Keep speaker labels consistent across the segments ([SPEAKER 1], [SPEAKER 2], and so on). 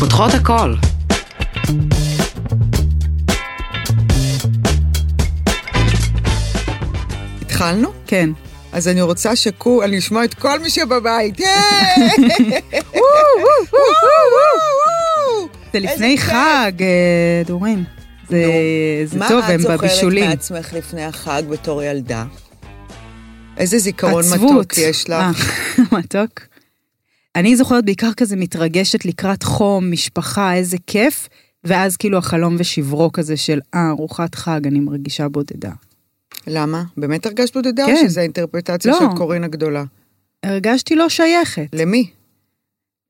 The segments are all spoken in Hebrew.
[SPEAKER 1] פותחות הכל.
[SPEAKER 2] התחלנו?
[SPEAKER 3] כן.
[SPEAKER 2] אז אני רוצה שכו... אני אשמע את כל מי שבבית. ייי!
[SPEAKER 3] וואו, וואו, וואו,
[SPEAKER 2] וואו!
[SPEAKER 3] זה
[SPEAKER 2] איזה
[SPEAKER 3] לפני
[SPEAKER 2] כיף.
[SPEAKER 3] חג, אה, דורין. זה זה טוב, הם
[SPEAKER 2] מה
[SPEAKER 3] בבישולים.
[SPEAKER 2] את זוכרת מעצמך לפני החג בתור ילדה? איזה זיכרון
[SPEAKER 3] עצבות.
[SPEAKER 2] מתוק יש
[SPEAKER 3] אה,
[SPEAKER 2] לך.
[SPEAKER 3] מתוק. אני זוכרת בעיקר כזה מתרגשת לקראת חום, משפחה, איזה כיף, ואז כאילו החלום ושברו כזה של אה, ארוחת חג, אני מרגישה בודדה.
[SPEAKER 2] למה? באמת הרגשת בודדה או
[SPEAKER 3] כן.
[SPEAKER 2] שזו האינטרפרטציה
[SPEAKER 3] לא.
[SPEAKER 2] של קורין הגדולה?
[SPEAKER 3] הרגשתי לא שייכת
[SPEAKER 2] למי?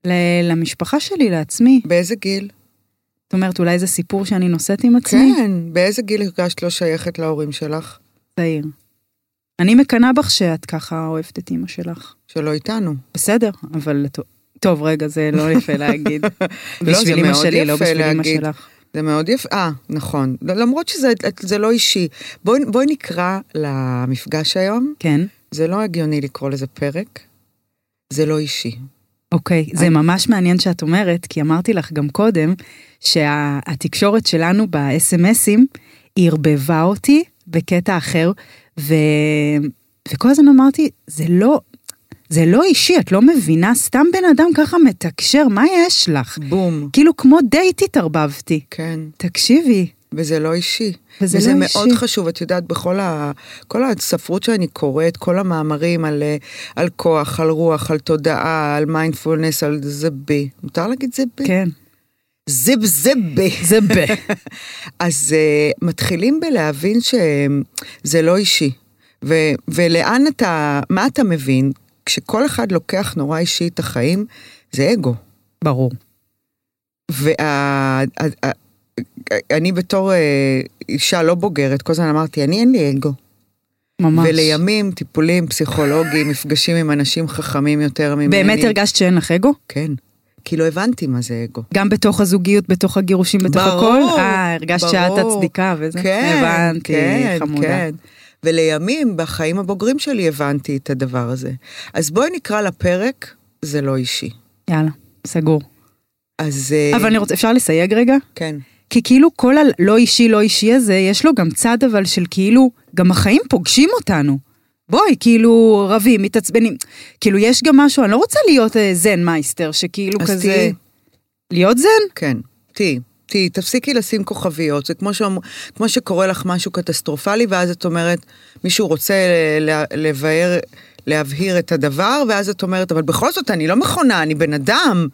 [SPEAKER 3] ל- למשפחה שלי, לעצמי.
[SPEAKER 2] באיזה גיל?
[SPEAKER 3] זאת אומרת, אולי זה סיפור שאני נושאת עם עצמי?
[SPEAKER 2] כן, באיזה גיל הרגשת לא שייכת להורים שלך?
[SPEAKER 3] צעיר. אני מקנאה בך שאת ככה אוהבת את אימא שלך.
[SPEAKER 2] שלא איתנו.
[SPEAKER 3] בסדר, אבל... את- טוב, רגע, זה לא יפה להגיד.
[SPEAKER 2] זה
[SPEAKER 3] בשביל אימא
[SPEAKER 2] מאוד
[SPEAKER 3] שלי, לא
[SPEAKER 2] יפה
[SPEAKER 3] בשביל אימא
[SPEAKER 2] להגיד.
[SPEAKER 3] שלך.
[SPEAKER 2] זה מאוד יפה, אה, נכון. לא- למרות שזה את- זה לא אישי. בואי בואי נקרא למפגש היום,
[SPEAKER 3] כן,
[SPEAKER 2] זה לא הגיוני לקרוא לזה פרק, זה לא אישי.
[SPEAKER 3] אוקיי. זה ממש מעניין שאת אומרת, כי אמרתי לך גם קודם, שהתקשורת שלנו באס.אם.אסים ערבבה אותי בקטע אחר, ו... וכל הזמן אמרתי, זה לא... זה לא אישי, את לא מבינה, סתם בן אדם ככה מתקשר, מה יש
[SPEAKER 2] Mm.
[SPEAKER 3] לך?
[SPEAKER 2] בום.
[SPEAKER 3] כאילו כמו דייט התערבבתי.
[SPEAKER 2] כן,
[SPEAKER 3] תקשיבי,
[SPEAKER 2] וזה לא אישי.
[SPEAKER 3] וזה
[SPEAKER 2] וזה
[SPEAKER 3] לא
[SPEAKER 2] מאוד
[SPEAKER 3] אישי.
[SPEAKER 2] חשוב, את יודעת, בכל ה... כל הספרות שאני קוראת, כל המאמרים על, אה, על כוח, על רוח, על תודעה, על מיינדפולנס, על זה בי. מותר להגיד זה בי?
[SPEAKER 3] כן,
[SPEAKER 2] זיב זיבי.
[SPEAKER 3] זה ב...
[SPEAKER 2] אז uh, מתחילים בלהבין שזה לא אישי. ו, ולאן אתה, מה אתה מבין? כשכל אחד לוקח נורא אישי את החיים, זה אגו.
[SPEAKER 3] ברור.
[SPEAKER 2] ואני בתור אה, אישה לא בוגרת, כל הזמן אמרתי, אני אין לי אגו.
[SPEAKER 3] ממש.
[SPEAKER 2] ולימים, טיפולים פסיכולוגיים, מפגשים עם אנשים חכמים יותר ממני.
[SPEAKER 3] באמת הרגשת שאין לך אגו?
[SPEAKER 2] כן. כי לא הבנתי מה זה אגו.
[SPEAKER 3] גם בתוך הזוגיות, בתוך הגירושים, בתוך
[SPEAKER 2] ברור,
[SPEAKER 3] הכל? אה, הרגשת שאת
[SPEAKER 2] ברור.
[SPEAKER 3] הצדיקה וזה?
[SPEAKER 2] כן,
[SPEAKER 3] הבנתי,
[SPEAKER 2] כן,
[SPEAKER 3] חמודה.
[SPEAKER 2] כן. ולימים, בחיים הבוגרים שלי, הבנתי את הדבר הזה. אז בואי נקרא לפרק, זה לא אישי.
[SPEAKER 3] יאללה, סגור.
[SPEAKER 2] אז... אה,
[SPEAKER 3] אבל אני רוצה, אפשר לסייג רגע?
[SPEAKER 2] כן.
[SPEAKER 3] כי כאילו כל הלא אישי, לא אישי הזה, יש לו גם צד אבל של כאילו, גם החיים פוגשים אותנו. בואי, כאילו, רבים, מתעצבנים. כאילו, יש גם משהו, אני לא רוצה להיות אה, זן מייסטר, שכאילו
[SPEAKER 2] אז
[SPEAKER 3] כזה...
[SPEAKER 2] תהיי.
[SPEAKER 3] להיות זן?
[SPEAKER 2] כן, תהיי. תהיי, תפסיקי לשים כוכביות, זה כמו, שאומר, כמו שקורה לך משהו קטסטרופלי, ואז את אומרת, מישהו רוצה ל- לבאר, להבהיר את הדבר, ואז את אומרת, אבל בכל זאת, אני לא מכונה, אני בן אדם.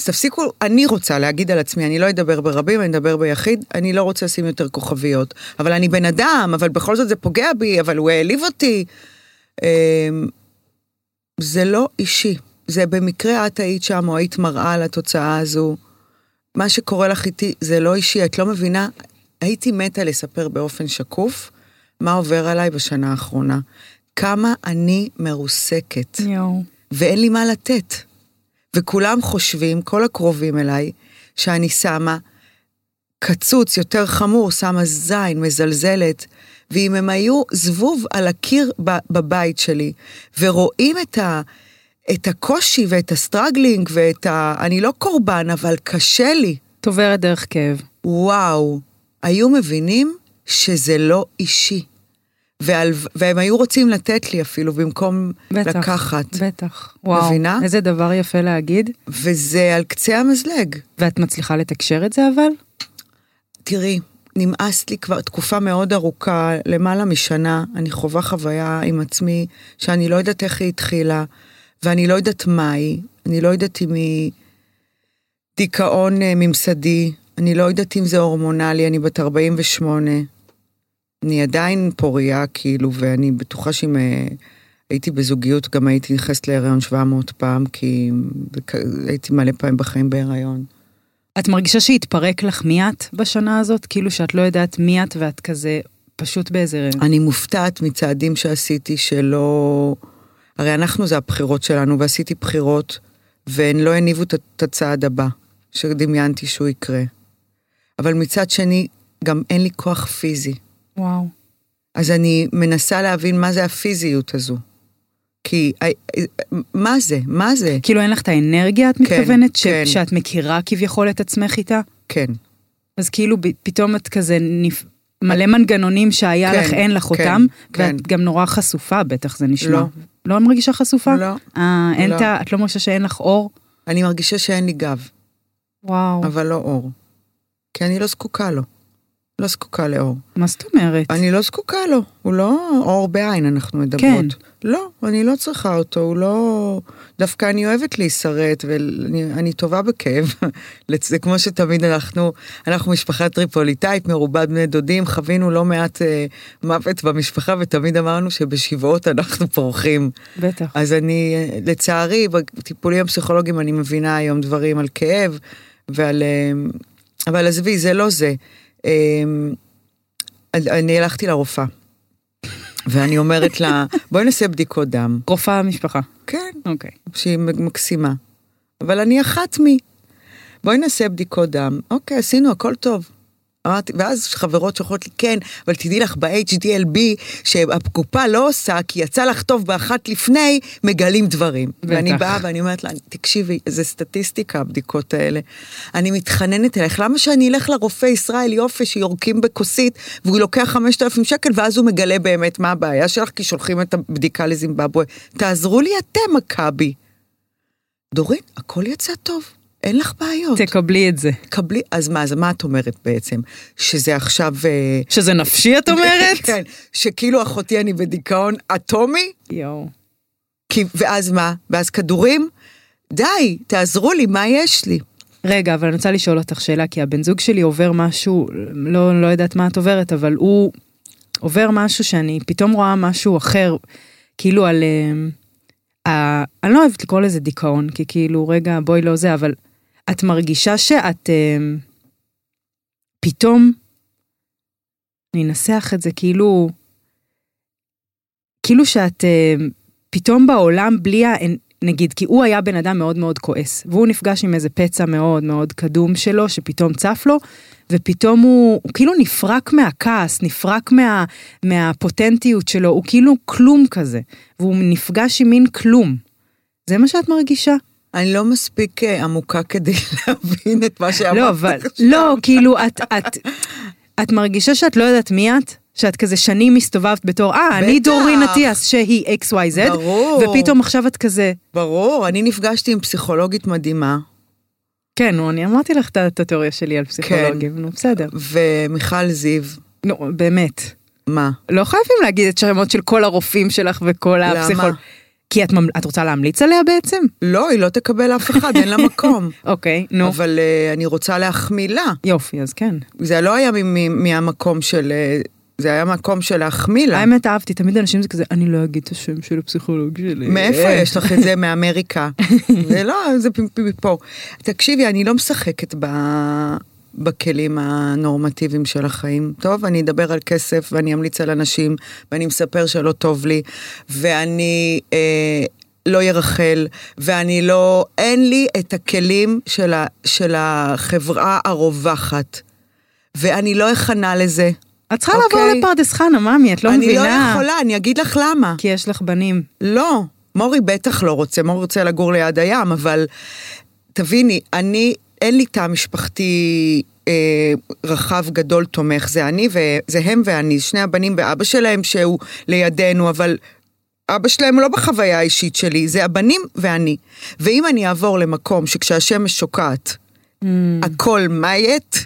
[SPEAKER 2] אז תפסיקו, אני רוצה להגיד על עצמי, אני לא אדבר ברבים, אני אדבר ביחיד, אני לא רוצה לשים יותר כוכביות. אבל אני בן אדם, אבל בכל זאת זה פוגע בי, אבל הוא העליב אותי. אמ, זה לא אישי. זה במקרה את היית שם, או היית מראה לתוצאה הזו. מה שקורה לך איתי זה לא אישי, את לא מבינה. הייתי מתה לספר באופן שקוף מה עובר עליי בשנה האחרונה. כמה אני מרוסקת,
[SPEAKER 3] יואו.
[SPEAKER 2] ואין לי מה לתת. וכולם חושבים, כל הקרובים אליי, שאני שמה קצוץ יותר חמור, שמה זין, מזלזלת. ואם הם היו זבוב על הקיר ב- בבית שלי, ורואים את, ה, את הקושי ואת הסטרגלינג ואת ה... אני לא קורבן, אבל קשה לי.
[SPEAKER 3] טוברת דרך כאב.
[SPEAKER 2] וואו, היו מבינים שזה לא אישי. ועל, והם היו רוצים לתת לי אפילו במקום
[SPEAKER 3] בטח.
[SPEAKER 2] לקחת.
[SPEAKER 3] בטח. וואו.
[SPEAKER 2] מבינה?
[SPEAKER 3] איזה דבר יפה להגיד.
[SPEAKER 2] וזה על קצה המזלג.
[SPEAKER 3] ואת מצליחה לתקשר את זה אבל?
[SPEAKER 2] תראי, נמאס לי כבר תקופה מאוד ארוכה, למעלה משנה, אני חווה חוויה עם עצמי שאני לא יודעת איך היא התחילה, ואני לא יודעת מה היא, אני לא יודעת אם היא דיכאון אה, ממסדי, אני לא יודעת אם זה הורמונלי, אני בת 48, אני עדיין פוריה כאילו, ואני בטוחה שאם... אה, הייתי בזוגיות, גם הייתי נכנסת להיריון 700 פעם, כי הייתי מלא פעמים בחיים בהיריון.
[SPEAKER 3] את מרגישה שהתפרק לך מי את בשנה הזאת? כאילו שאת לא יודעת מי את ואת כזה פשוט באיזה...
[SPEAKER 2] אני מופתעת מצעדים שעשיתי שלא... הרי אנחנו זה הבחירות שלנו, ועשיתי בחירות, והן לא הניבו את- את הצעד הבא, שדמיינתי שהוא יקרה. אבל מצד שני, גם אין לי כוח פיזי.
[SPEAKER 3] וואו.
[SPEAKER 2] אז אני מנסה להבין מה זה הפיזיות הזו. כי אה, מה זה? מה זה?
[SPEAKER 3] כאילו אין לך את האנרגיה, את מתכוונת? ש-
[SPEAKER 2] כן.
[SPEAKER 3] שאת מכירה כביכול את עצמך איתה?
[SPEAKER 2] כן,
[SPEAKER 3] אז כאילו ב- פתאום את כזה נפ... מלא מנגנונים שהיה
[SPEAKER 2] כן,
[SPEAKER 3] לך, אין לך
[SPEAKER 2] כן,
[SPEAKER 3] אותם,
[SPEAKER 2] כן.
[SPEAKER 3] ואת גם נורא חשופה בטח, זה נשמע.
[SPEAKER 2] לא.
[SPEAKER 3] לא מרגישה חשופה?
[SPEAKER 2] לא.
[SPEAKER 3] אה, אין
[SPEAKER 2] לא.
[SPEAKER 3] את ה... את לא מרגישה שאין לך אור?
[SPEAKER 2] אני מרגישה שאין לי גב,
[SPEAKER 3] וואו,
[SPEAKER 2] אבל לא אור. כי אני לא זקוקה לו. לא זקוקה לאור.
[SPEAKER 3] מה זאת אומרת?
[SPEAKER 2] אני לא זקוקה לו, הוא לא אור בעין, אנחנו מדברות. כן. לא, אני לא צריכה אותו, הוא לא... דווקא אני אוהבת להישרט, ואני אני טובה בכאב. לצ- זה כמו שתמיד אנחנו, אנחנו משפחה טריפוליטאית, מרובת בני דודים, חווינו לא מעט אה, מוות במשפחה, ותמיד אמרנו שבשבעות אנחנו פורחים.
[SPEAKER 3] בטח.
[SPEAKER 2] אז אני, אה, לצערי, בטיפולים הפסיכולוגיים אני מבינה היום דברים על כאב ועל... אה, אבל עזבי, זה לא זה. אה, אני הלכתי לרופאה, ואני אומרת לה, בואי נעשה בדיקות דם.
[SPEAKER 3] רופאה המשפחה.
[SPEAKER 2] כן,
[SPEAKER 3] אוקיי.
[SPEAKER 2] שהיא מקסימה. אבל אני אחת מי. בואי נעשה בדיקות דם. אוקיי, עשינו, הכל טוב. אמרתי, ואז חברות שאומרות לי, כן, אבל תדעי לך, ב-HDLB, שהקופה לא עושה, כי יצא לך טוב באחת לפני, מגלים דברים.
[SPEAKER 3] בטח.
[SPEAKER 2] ואני באה ואני אומרת לה, תקשיבי, זה סטטיסטיקה, הבדיקות האלה. אני מתחננת אלייך, למה שאני אלך לרופא ישראל יופי שיורקים בכוסית, והוא לוקח 5,000 שקל, ואז הוא מגלה באמת מה הבעיה שלך, כי שולחים את הבדיקה לזימבבואה. תעזרו לי אתם, מכבי. דורין, הכל יצא טוב, אין לך בעיות.
[SPEAKER 3] תקבלי את זה.
[SPEAKER 2] קבלי, אז מה, אז מה את אומרת בעצם? שזה עכשיו... אה,
[SPEAKER 3] שזה נפשי את אומרת?
[SPEAKER 2] כן, שכאילו אחותי אני בדיכאון אטומי,
[SPEAKER 3] יואו.
[SPEAKER 2] כי, ואז מה? ואז כדורים? די, תעזרו לי, מה יש לי?
[SPEAKER 3] רגע, אבל אני רוצה לשאול אותך שאלה, כי הבן זוג שלי עובר משהו, לא, לא יודעת מה את עוברת, אבל הוא עובר משהו שאני פתאום רואה משהו אחר, כאילו על... אמ, ה- אני לא אוהבת לקרוא לזה דיכאון, כי כאילו, רגע, בואי לא זה, אבל את מרגישה שאת אמ, פתאום, אני אנסח את זה כאילו, כאילו שאת אמ, פתאום בעולם בלי ה... נגיד, כי הוא היה בן אדם מאוד מאוד כועס, והוא נפגש עם איזה פצע מאוד מאוד קדום שלו, שפתאום צף לו, ופתאום הוא, הוא כאילו נפרק מהכעס, נפרק מה, מהפוטנטיות שלו, הוא כאילו כלום כזה, והוא נפגש עם מין כלום. זה מה שאת מרגישה?
[SPEAKER 2] אני לא מספיק אה, עמוקה כדי להבין את מה שאמרת.
[SPEAKER 3] לא, אבל, לא, כאילו, את, את, את מרגישה שאת לא יודעת מי את? שאת כזה שנים הסתובבת בתור, אה, אני
[SPEAKER 2] בטח.
[SPEAKER 3] דורין אטיאס שהיא XYZ,
[SPEAKER 2] ברור.
[SPEAKER 3] ופתאום עכשיו את כזה,
[SPEAKER 2] ברור, אני נפגשתי עם פסיכולוגית מדהימה,
[SPEAKER 3] כן, נו, אני אמרתי לך את ה- את התיאוריה שלי על פסיכולוגים, נו, בסדר.
[SPEAKER 2] ומיכל זיו,
[SPEAKER 3] כן. נו, באמת.
[SPEAKER 2] מה?
[SPEAKER 3] לא חייבים להגיד את שמות של כל הרופאים שלך וכל
[SPEAKER 2] למה?
[SPEAKER 3] הפסיכולוגים. כי את, ממ... את רוצה להמליץ עליה בעצם?
[SPEAKER 2] לא, היא לא תקבל אף אחד, אין לה מקום.
[SPEAKER 3] אוקיי, נו.
[SPEAKER 2] אבל אה, אני רוצה להחמיא לה.
[SPEAKER 3] יופי, אז כן.
[SPEAKER 2] זה לא היה מ- מ- מהמקום של... אה, זה היה מקום של להחמיא לה.
[SPEAKER 3] האמת אהבתי, תמיד אנשים זה כזה, אני לא אגיד את השם של הפסיכולוג שלי.
[SPEAKER 2] מאיפה
[SPEAKER 3] אה.
[SPEAKER 2] יש לך את זה? מאמריקה. זה לא, זה פ- פ- מפה. תקשיבי, אני לא משחקת ב... בכלים הנורמטיביים של החיים. טוב, אני אדבר על כסף ואני אמליץ על אנשים ואני מספר שלא טוב לי ואני אה, לא ירחל ואני לא... אין לי את הכלים של, ה, של החברה הרווחת ואני לא אכנע לזה.
[SPEAKER 3] את צריכה לעבור
[SPEAKER 2] אוקיי.
[SPEAKER 3] לפרדס חנה, מאמי, את לא
[SPEAKER 2] אני
[SPEAKER 3] מבינה.
[SPEAKER 2] לא יכולה, אני אגיד לך למה.
[SPEAKER 3] כי יש לך בנים.
[SPEAKER 2] לא, מורי בטח לא רוצה, מורי רוצה לגור ליד הים, אבל תביני, אני, אין לי תא משפחתי אה, רחב, גדול, תומך, זה אני, ו, זה הם ואני, שני הבנים ואבא שלהם שהוא לידינו, אבל... אבא שלהם הוא לא בחוויה האישית שלי, זה הבנים ואני. ואם אני אעבור למקום שכשהשמש שוקעת,
[SPEAKER 3] Mm.
[SPEAKER 2] הכל מייט,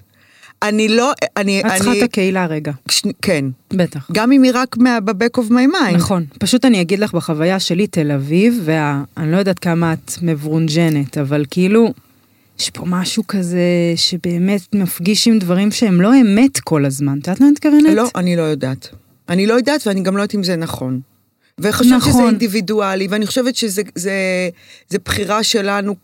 [SPEAKER 2] אני לא, אני,
[SPEAKER 3] את צריכה
[SPEAKER 2] אני,
[SPEAKER 3] את הקהילה רגע.
[SPEAKER 2] ש... כן,
[SPEAKER 3] בטח.
[SPEAKER 2] גם אם היא רק מה- ב-back of my mind.
[SPEAKER 3] נכון. פשוט אני אגיד לך בחוויה שלי, תל אביב, ואני לא יודעת כמה את מברונג'נת, אבל כאילו, יש פה משהו כזה שבאמת מפגיש עם דברים שהם לא אמת כל הזמן. את יודעת מה אני מתכוונת?
[SPEAKER 2] לא, אני לא יודעת. אני לא יודעת ואני גם לא יודעת אם זה נכון. וחושבת נכון. שזה
[SPEAKER 3] נכון.
[SPEAKER 2] אינדיבידואלי, ואני חושבת שזה זה, זה בחירה שלנו.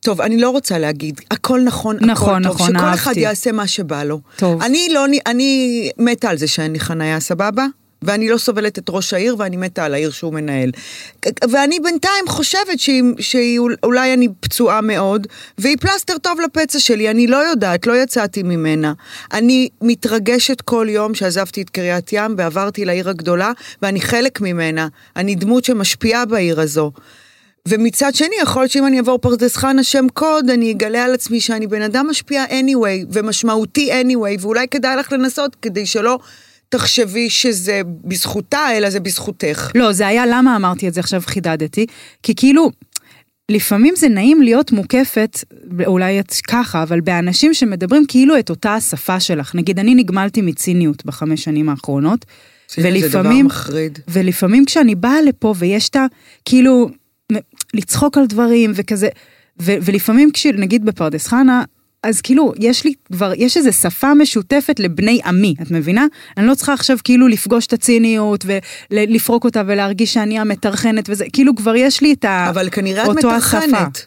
[SPEAKER 2] טוב, אני לא רוצה להגיד, הכל נכון, הכל
[SPEAKER 3] נכון,
[SPEAKER 2] טוב,
[SPEAKER 3] נכון,
[SPEAKER 2] שכל
[SPEAKER 3] אהבתי.
[SPEAKER 2] אחד יעשה מה שבא לו.
[SPEAKER 3] טוב.
[SPEAKER 2] אני לא, אני מתה על זה שאין לי חנייה, סבבה? ואני לא סובלת את ראש העיר, ואני מתה על העיר שהוא מנהל. ואני בינתיים חושבת שהיא, שהיא אולי אני פצועה מאוד, והיא פלסטר טוב לפצע שלי, אני לא יודעת, לא יצאתי ממנה. אני מתרגשת כל יום שעזבתי את קריית ים ועברתי לעיר הגדולה, ואני חלק ממנה. אני דמות שמשפיעה בעיר הזו. ומצד שני, יכול להיות שאם אני אעבור פרדס חנה שם קוד, אני אגלה על עצמי שאני בן אדם משפיע anyway, ומשמעותי anyway, ואולי כדאי לך לנסות כדי שלא... תחשבי שזה בזכותה, אלא זה בזכותך.
[SPEAKER 3] לא, זה היה למה אמרתי את זה עכשיו, חידדתי. כי כאילו, לפעמים זה נעים להיות מוקפת, אולי את ככה, אבל באנשים שמדברים כאילו את אותה השפה שלך. נגיד, אני נגמלתי מציניות בחמש שנים האחרונות.
[SPEAKER 2] ולפעמים, זה דבר מחריד.
[SPEAKER 3] ולפעמים כשאני באה לפה ויש את ה... כאילו, לצחוק על דברים וכזה, ו, ולפעמים כשנגיד בפרדס חנה, אז כאילו, יש לי כבר, יש איזו שפה משותפת לבני עמי, את מבינה? אני לא צריכה עכשיו כאילו לפגוש את הציניות ולפרוק אותה ולהרגיש שאני המטרחנת וזה, כאילו כבר יש לי את ה...
[SPEAKER 2] אבל כנראה את מטרחנת.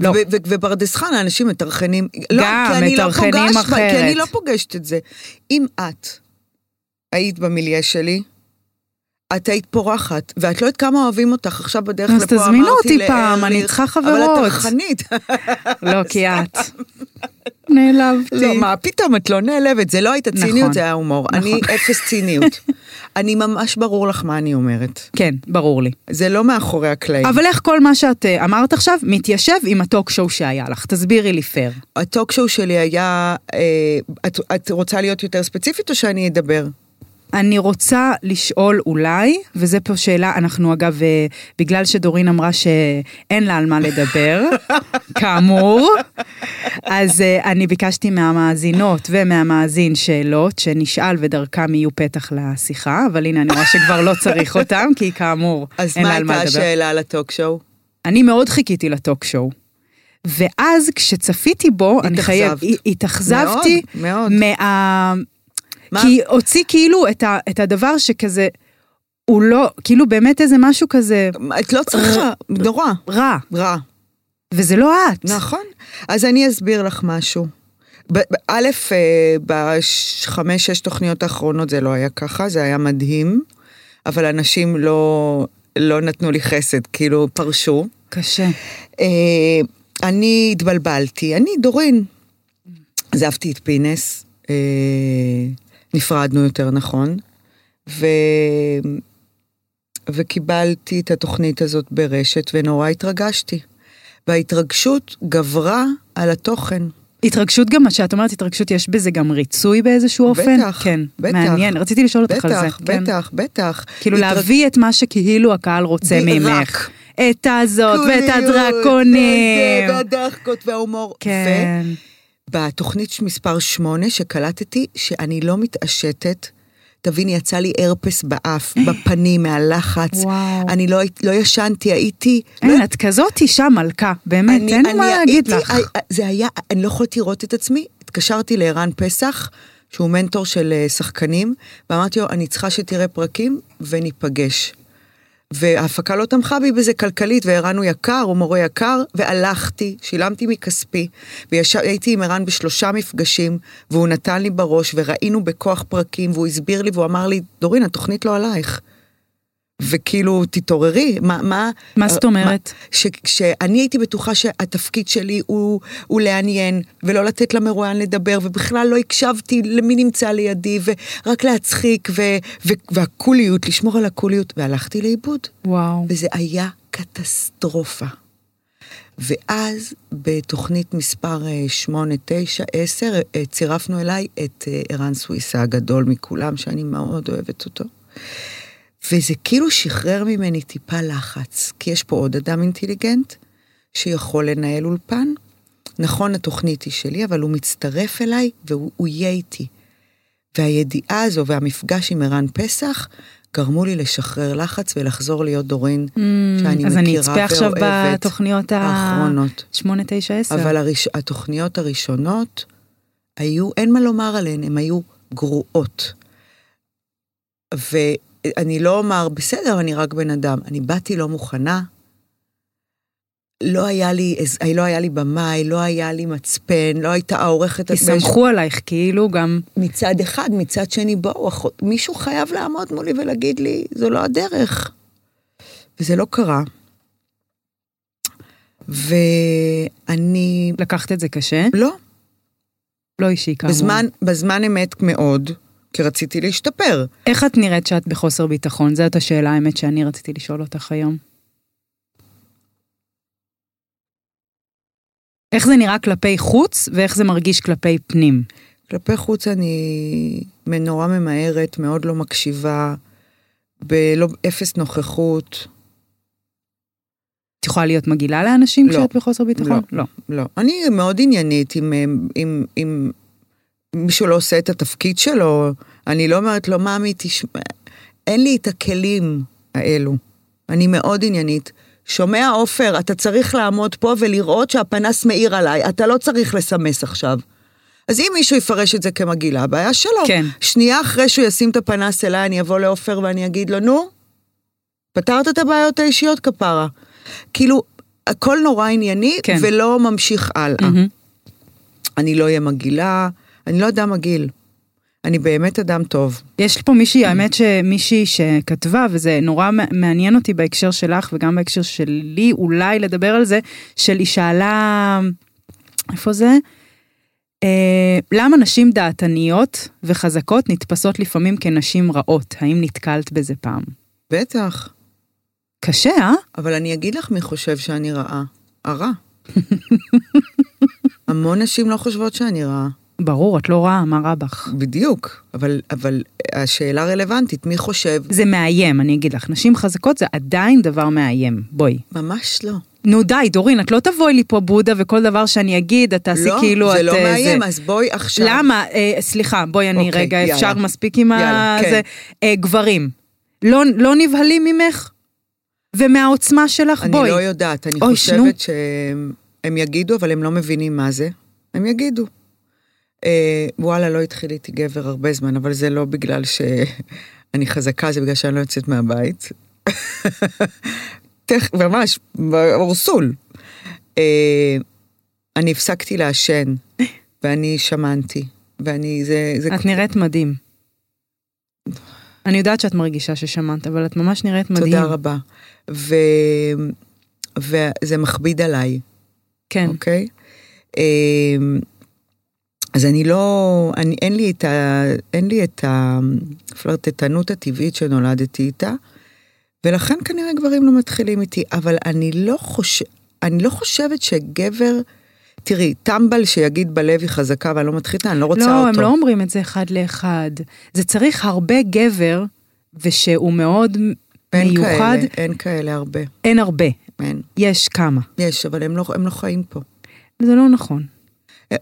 [SPEAKER 2] לא. ובפרדס חנה אנשים מטרחנים.
[SPEAKER 3] לא, גם, מטרחנים לא
[SPEAKER 2] פוגש,
[SPEAKER 3] אחרת.
[SPEAKER 2] כי אני לא פוגשת את זה. אם את היית במיליה שלי, את היית פורחת, ואת לא יודעת כמה אוהבים אותך. עכשיו בדרך לפה אמרתי
[SPEAKER 3] לארליך... אז תזמינו אותי פעם, אני איתך חברות.
[SPEAKER 2] אבל את טרחנית.
[SPEAKER 3] לא, כי את. נעלבתי.
[SPEAKER 2] לא, מה פתאום, את לא נעלבת. זה לא הייתה
[SPEAKER 3] נכון.
[SPEAKER 2] ציניות, זה היה הומור. אני אפס ציניות. אני ממש ברור לך מה אני אומרת.
[SPEAKER 3] כן, ברור לי.
[SPEAKER 2] זה לא מאחורי הקלעים.
[SPEAKER 3] אבל איך כל מה שאת אה, אמרת עכשיו מתיישב עם הטוק שואו שהיה לך? תסבירי לי פייר.
[SPEAKER 2] הטוק שואו שלי היה... אה, את רוצה להיות יותר ספציפית או שאני אדבר?
[SPEAKER 3] אני רוצה לשאול אולי, וזה פה שאלה, אנחנו אגב, אה, בגלל שדורין אמרה שאין לה על מה לדבר, כאמור, אז אה, אני ביקשתי מהמאזינות ומהמאזין שאלות שנשאל ודרכם יהיו פתח לשיחה, אבל הנה אני רואה שכבר לא צריך אותם, כי כאמור, אין לה על מה לדבר.
[SPEAKER 2] אז מה הייתה השאלה לטוק שואו?
[SPEAKER 3] אני מאוד חיכיתי לטוק שואו. ואז כשצפיתי בו, אני חייב, התאכזבתי,
[SPEAKER 2] מאוד, מאוד.
[SPEAKER 3] מה... מה? כי הוציא כאילו את, ה, את הדבר שכזה, הוא לא, כאילו באמת איזה משהו כזה...
[SPEAKER 2] את לא צריכה, נורא.
[SPEAKER 3] רע.
[SPEAKER 2] רע.
[SPEAKER 3] וזה לא את.
[SPEAKER 2] נכון. אז אני אסביר לך משהו. א', אה, בחמש, שש תוכניות האחרונות זה לא היה ככה, זה היה מדהים, אבל אנשים לא, לא נתנו לי חסד, כאילו פרשו.
[SPEAKER 3] קשה.
[SPEAKER 2] אה, אני התבלבלתי, אני דורין. עזבתי את פינס. אה, נפרדנו יותר נכון, ו... וקיבלתי את התוכנית הזאת ברשת, ונורא התרגשתי. וההתרגשות גברה על התוכן.
[SPEAKER 3] התרגשות גם, שאת אומרת התרגשות, יש בזה גם ריצוי באיזשהו
[SPEAKER 2] בטח,
[SPEAKER 3] אופן?
[SPEAKER 2] בטח,
[SPEAKER 3] כן,
[SPEAKER 2] בטח.
[SPEAKER 3] מעניין, רציתי לשאול
[SPEAKER 2] בטח,
[SPEAKER 3] אותך על זה.
[SPEAKER 2] בטח,
[SPEAKER 3] כן.
[SPEAKER 2] בטח, בטח.
[SPEAKER 3] כאילו התרג... להביא את מה שכאילו הקהל רוצה ממך. את הזאת, ואת הדרקונים.
[SPEAKER 2] והדחקות כן, וההומור.
[SPEAKER 3] כן.
[SPEAKER 2] ו... בתוכנית מספר 8 שקלטתי שאני לא מתעשתת. תביני, יצא לי הרפס באף, בפנים, מהלחץ.
[SPEAKER 3] וואו. אה,
[SPEAKER 2] אני לא, לא ישנתי, הייתי...
[SPEAKER 3] אין,
[SPEAKER 2] לא...
[SPEAKER 3] את כזאת אישה מלכה, באמת, אני, אין אני מה להגיד לך.
[SPEAKER 2] אה, זה היה, אני לא יכולת לראות את עצמי. התקשרתי לערן פסח, שהוא מנטור של אה, שחקנים, ואמרתי לו, אני צריכה שתראה פרקים וניפגש. וההפקה לא תמכה בי בזה כלכלית, וערן הוא יקר, הוא מורה יקר, והלכתי, שילמתי מכספי, והייתי עם ערן בשלושה מפגשים, והוא נתן לי בראש, וראינו בכוח פרקים, והוא הסביר לי, והוא אמר לי, דורין, התוכנית לא עלייך. וכאילו, תתעוררי, מה...
[SPEAKER 3] מה, מה זאת אומרת? מה,
[SPEAKER 2] ש, שאני הייתי בטוחה שהתפקיד שלי הוא, הוא לעניין, ולא לתת למרואיין לדבר, ובכלל לא הקשבתי למי נמצא לידי, ורק להצחיק, ו, ו, והקוליות, לשמור על הקוליות, והלכתי לאיבוד.
[SPEAKER 3] וואו.
[SPEAKER 2] וזה היה קטסטרופה. ואז בתוכנית מספר אה, 8, 9, 10, אה, צירפנו אליי את אה, ערן סוויסה הגדול מכולם, שאני מאוד אוהבת אותו. וזה כאילו שחרר ממני טיפה לחץ, כי יש פה עוד אדם אינטליגנט שיכול לנהל אולפן. נכון, התוכנית היא שלי, אבל הוא מצטרף אליי והוא יהיה איתי. והידיעה הזו והמפגש עם ערן פסח גרמו לי לשחרר לחץ ולחזור להיות דורין mm, שאני מכירה ואוהבת.
[SPEAKER 3] Hmm, אז אני אצפה עכשיו בתוכניות האחרונות. 8, 9, 10.
[SPEAKER 2] אבל הראש... התוכניות הראשונות היו, אין מה לומר עליהן, הן היו גרועות. ו... אני לא אומר, בסדר, אני רק בן אדם. אני באתי לא מוכנה, לא היה לי, אז- לא היה לי במאי, לא היה לי מצפן, לא הייתה העורכת...
[SPEAKER 3] כי סמכו עלייך, כאילו גם...
[SPEAKER 2] מצד אחד, מצד שני, בואו, אחות- מישהו חייב לעמוד מולי ולהגיד לי, זו לא הדרך. וזה לא קרה. ואני...
[SPEAKER 3] לקחת את זה קשה,
[SPEAKER 2] לא,
[SPEAKER 3] לא אישי כאמור.
[SPEAKER 2] בזמן, בזמן אמת מאוד, כי רציתי להשתפר.
[SPEAKER 3] איך את נראית שאת בחוסר ביטחון? זאת השאלה האמת שאני רציתי לשאול אותך היום. איך זה נראה כלפי חוץ ואיך זה מרגיש כלפי פנים?
[SPEAKER 2] כלפי חוץ אני נורא ממהרת, מאוד לא מקשיבה, בלא, אפס נוכחות.
[SPEAKER 3] את יכולה להיות מגעילה לאנשים
[SPEAKER 2] לא.
[SPEAKER 3] כשאת בחוסר ביטחון?
[SPEAKER 2] לא. לא. אני מאוד עניינית אם, אם, אם, אם מישהו לא עושה את התפקיד שלו, אני לא אומרת לו, מאמי, תשמע, אין לי את הכלים האלו. אני מאוד עניינית. שומע, עופר, אתה צריך לעמוד פה ולראות שהפנס מאיר עליי, אתה לא צריך לסמס עכשיו. אז אם מישהו יפרש את זה כמגעילה, הבעיה שלו.
[SPEAKER 3] כן.
[SPEAKER 2] שנייה אחרי שהוא ישים את הפנס אליי, אני אבוא לעופר ואני אגיד לו, נו, פתרת את הבעיות האישיות, כפרה. כאילו, הכל נורא ענייני,
[SPEAKER 3] כן.
[SPEAKER 2] ולא לא ממשיך הלאה.
[SPEAKER 3] מהמם.
[SPEAKER 2] אני לא אהיה מגעילה, אני לא אדם מגעיל. אני באמת אדם טוב.
[SPEAKER 3] יש פה מישהי,
[SPEAKER 2] Mm.
[SPEAKER 3] האמת שמישהי שכתבה, וזה נורא מע- מעניין אותי בהקשר שלך וגם בהקשר שלי, אולי לדבר על זה, של היא שאלה, איפה זה? אה, למה נשים דעתניות וחזקות נתפסות לפעמים כנשים רעות? האם נתקלת בזה פעם?
[SPEAKER 2] בטח.
[SPEAKER 3] קשה, אה?
[SPEAKER 2] אבל אני אגיד לך מי חושב שאני רעה. הרע. המון נשים לא חושבות שאני רעה.
[SPEAKER 3] ברור, את לא רעה, מה רע בך?
[SPEAKER 2] בדיוק. אבל, אבל השאלה רלוונטית, מי חושב?
[SPEAKER 3] זה מאיים, אני אגיד לך. נשים חזקות זה עדיין דבר מאיים, בואי.
[SPEAKER 2] ממש לא.
[SPEAKER 3] נו די, דורין, את לא תבואי לי פה בודה וכל דבר שאני אגיד, את תעשי
[SPEAKER 2] לא,
[SPEAKER 3] כאילו את...
[SPEAKER 2] זה לא
[SPEAKER 3] אה,
[SPEAKER 2] מאיים, אז בואי עכשיו.
[SPEAKER 3] למה, אה, סליחה, בואי אני
[SPEAKER 2] אוקיי,
[SPEAKER 3] רגע,
[SPEAKER 2] יאללה.
[SPEAKER 3] אפשר מספיק עם ה...
[SPEAKER 2] יאללה, כן.
[SPEAKER 3] זה, אה, גברים, לא, לא נבהלים ממך? ומהעוצמה שלך?
[SPEAKER 2] אני
[SPEAKER 3] בואי.
[SPEAKER 2] לא יודעת, אני
[SPEAKER 3] אוי, שנו.
[SPEAKER 2] חושבת שהם הם יגידו, אבל הם לא מבינים מה זה. הם יגידו. אה, וואלה, לא התחיל איתי גבר הרבה זמן, אבל זה לא בגלל שאני חזקה, זה בגלל שאני לא יוצאת מהבית. תכף, ממש, אורסול. אה, אני הפסקתי לעשן, ואני שמנתי, ואני, זה... זה
[SPEAKER 3] את נראית מדהים. אני יודעת שאת מרגישה ששמעת, אבל את ממש נראית מדהים.
[SPEAKER 2] תודה רבה. ו... וזה מכביד עליי.
[SPEAKER 3] כן.
[SPEAKER 2] אוקיי? אמ, אז אני לא, אני, אין לי את ה... אין לי את הפלרטטנות הטבעית שנולדתי איתה, ולכן כנראה גברים לא מתחילים איתי, אבל אני לא, חוש... אני לא חושבת שגבר... תראי, טמבל שיגיד בלב היא חזקה ואני לא מתחילה, אני לא רוצה
[SPEAKER 3] לא,
[SPEAKER 2] אותו.
[SPEAKER 3] הם לא אומרים את זה אחד לאחד. זה צריך הרבה גבר, ושהוא מאוד
[SPEAKER 2] אין
[SPEAKER 3] מיוחד.
[SPEAKER 2] כאלה, אין כאלה הרבה,
[SPEAKER 3] אין הרבה,
[SPEAKER 2] אין.
[SPEAKER 3] יש כמה.
[SPEAKER 2] יש, אבל הם לא, הם לא חיים פה.
[SPEAKER 3] זה לא נכון.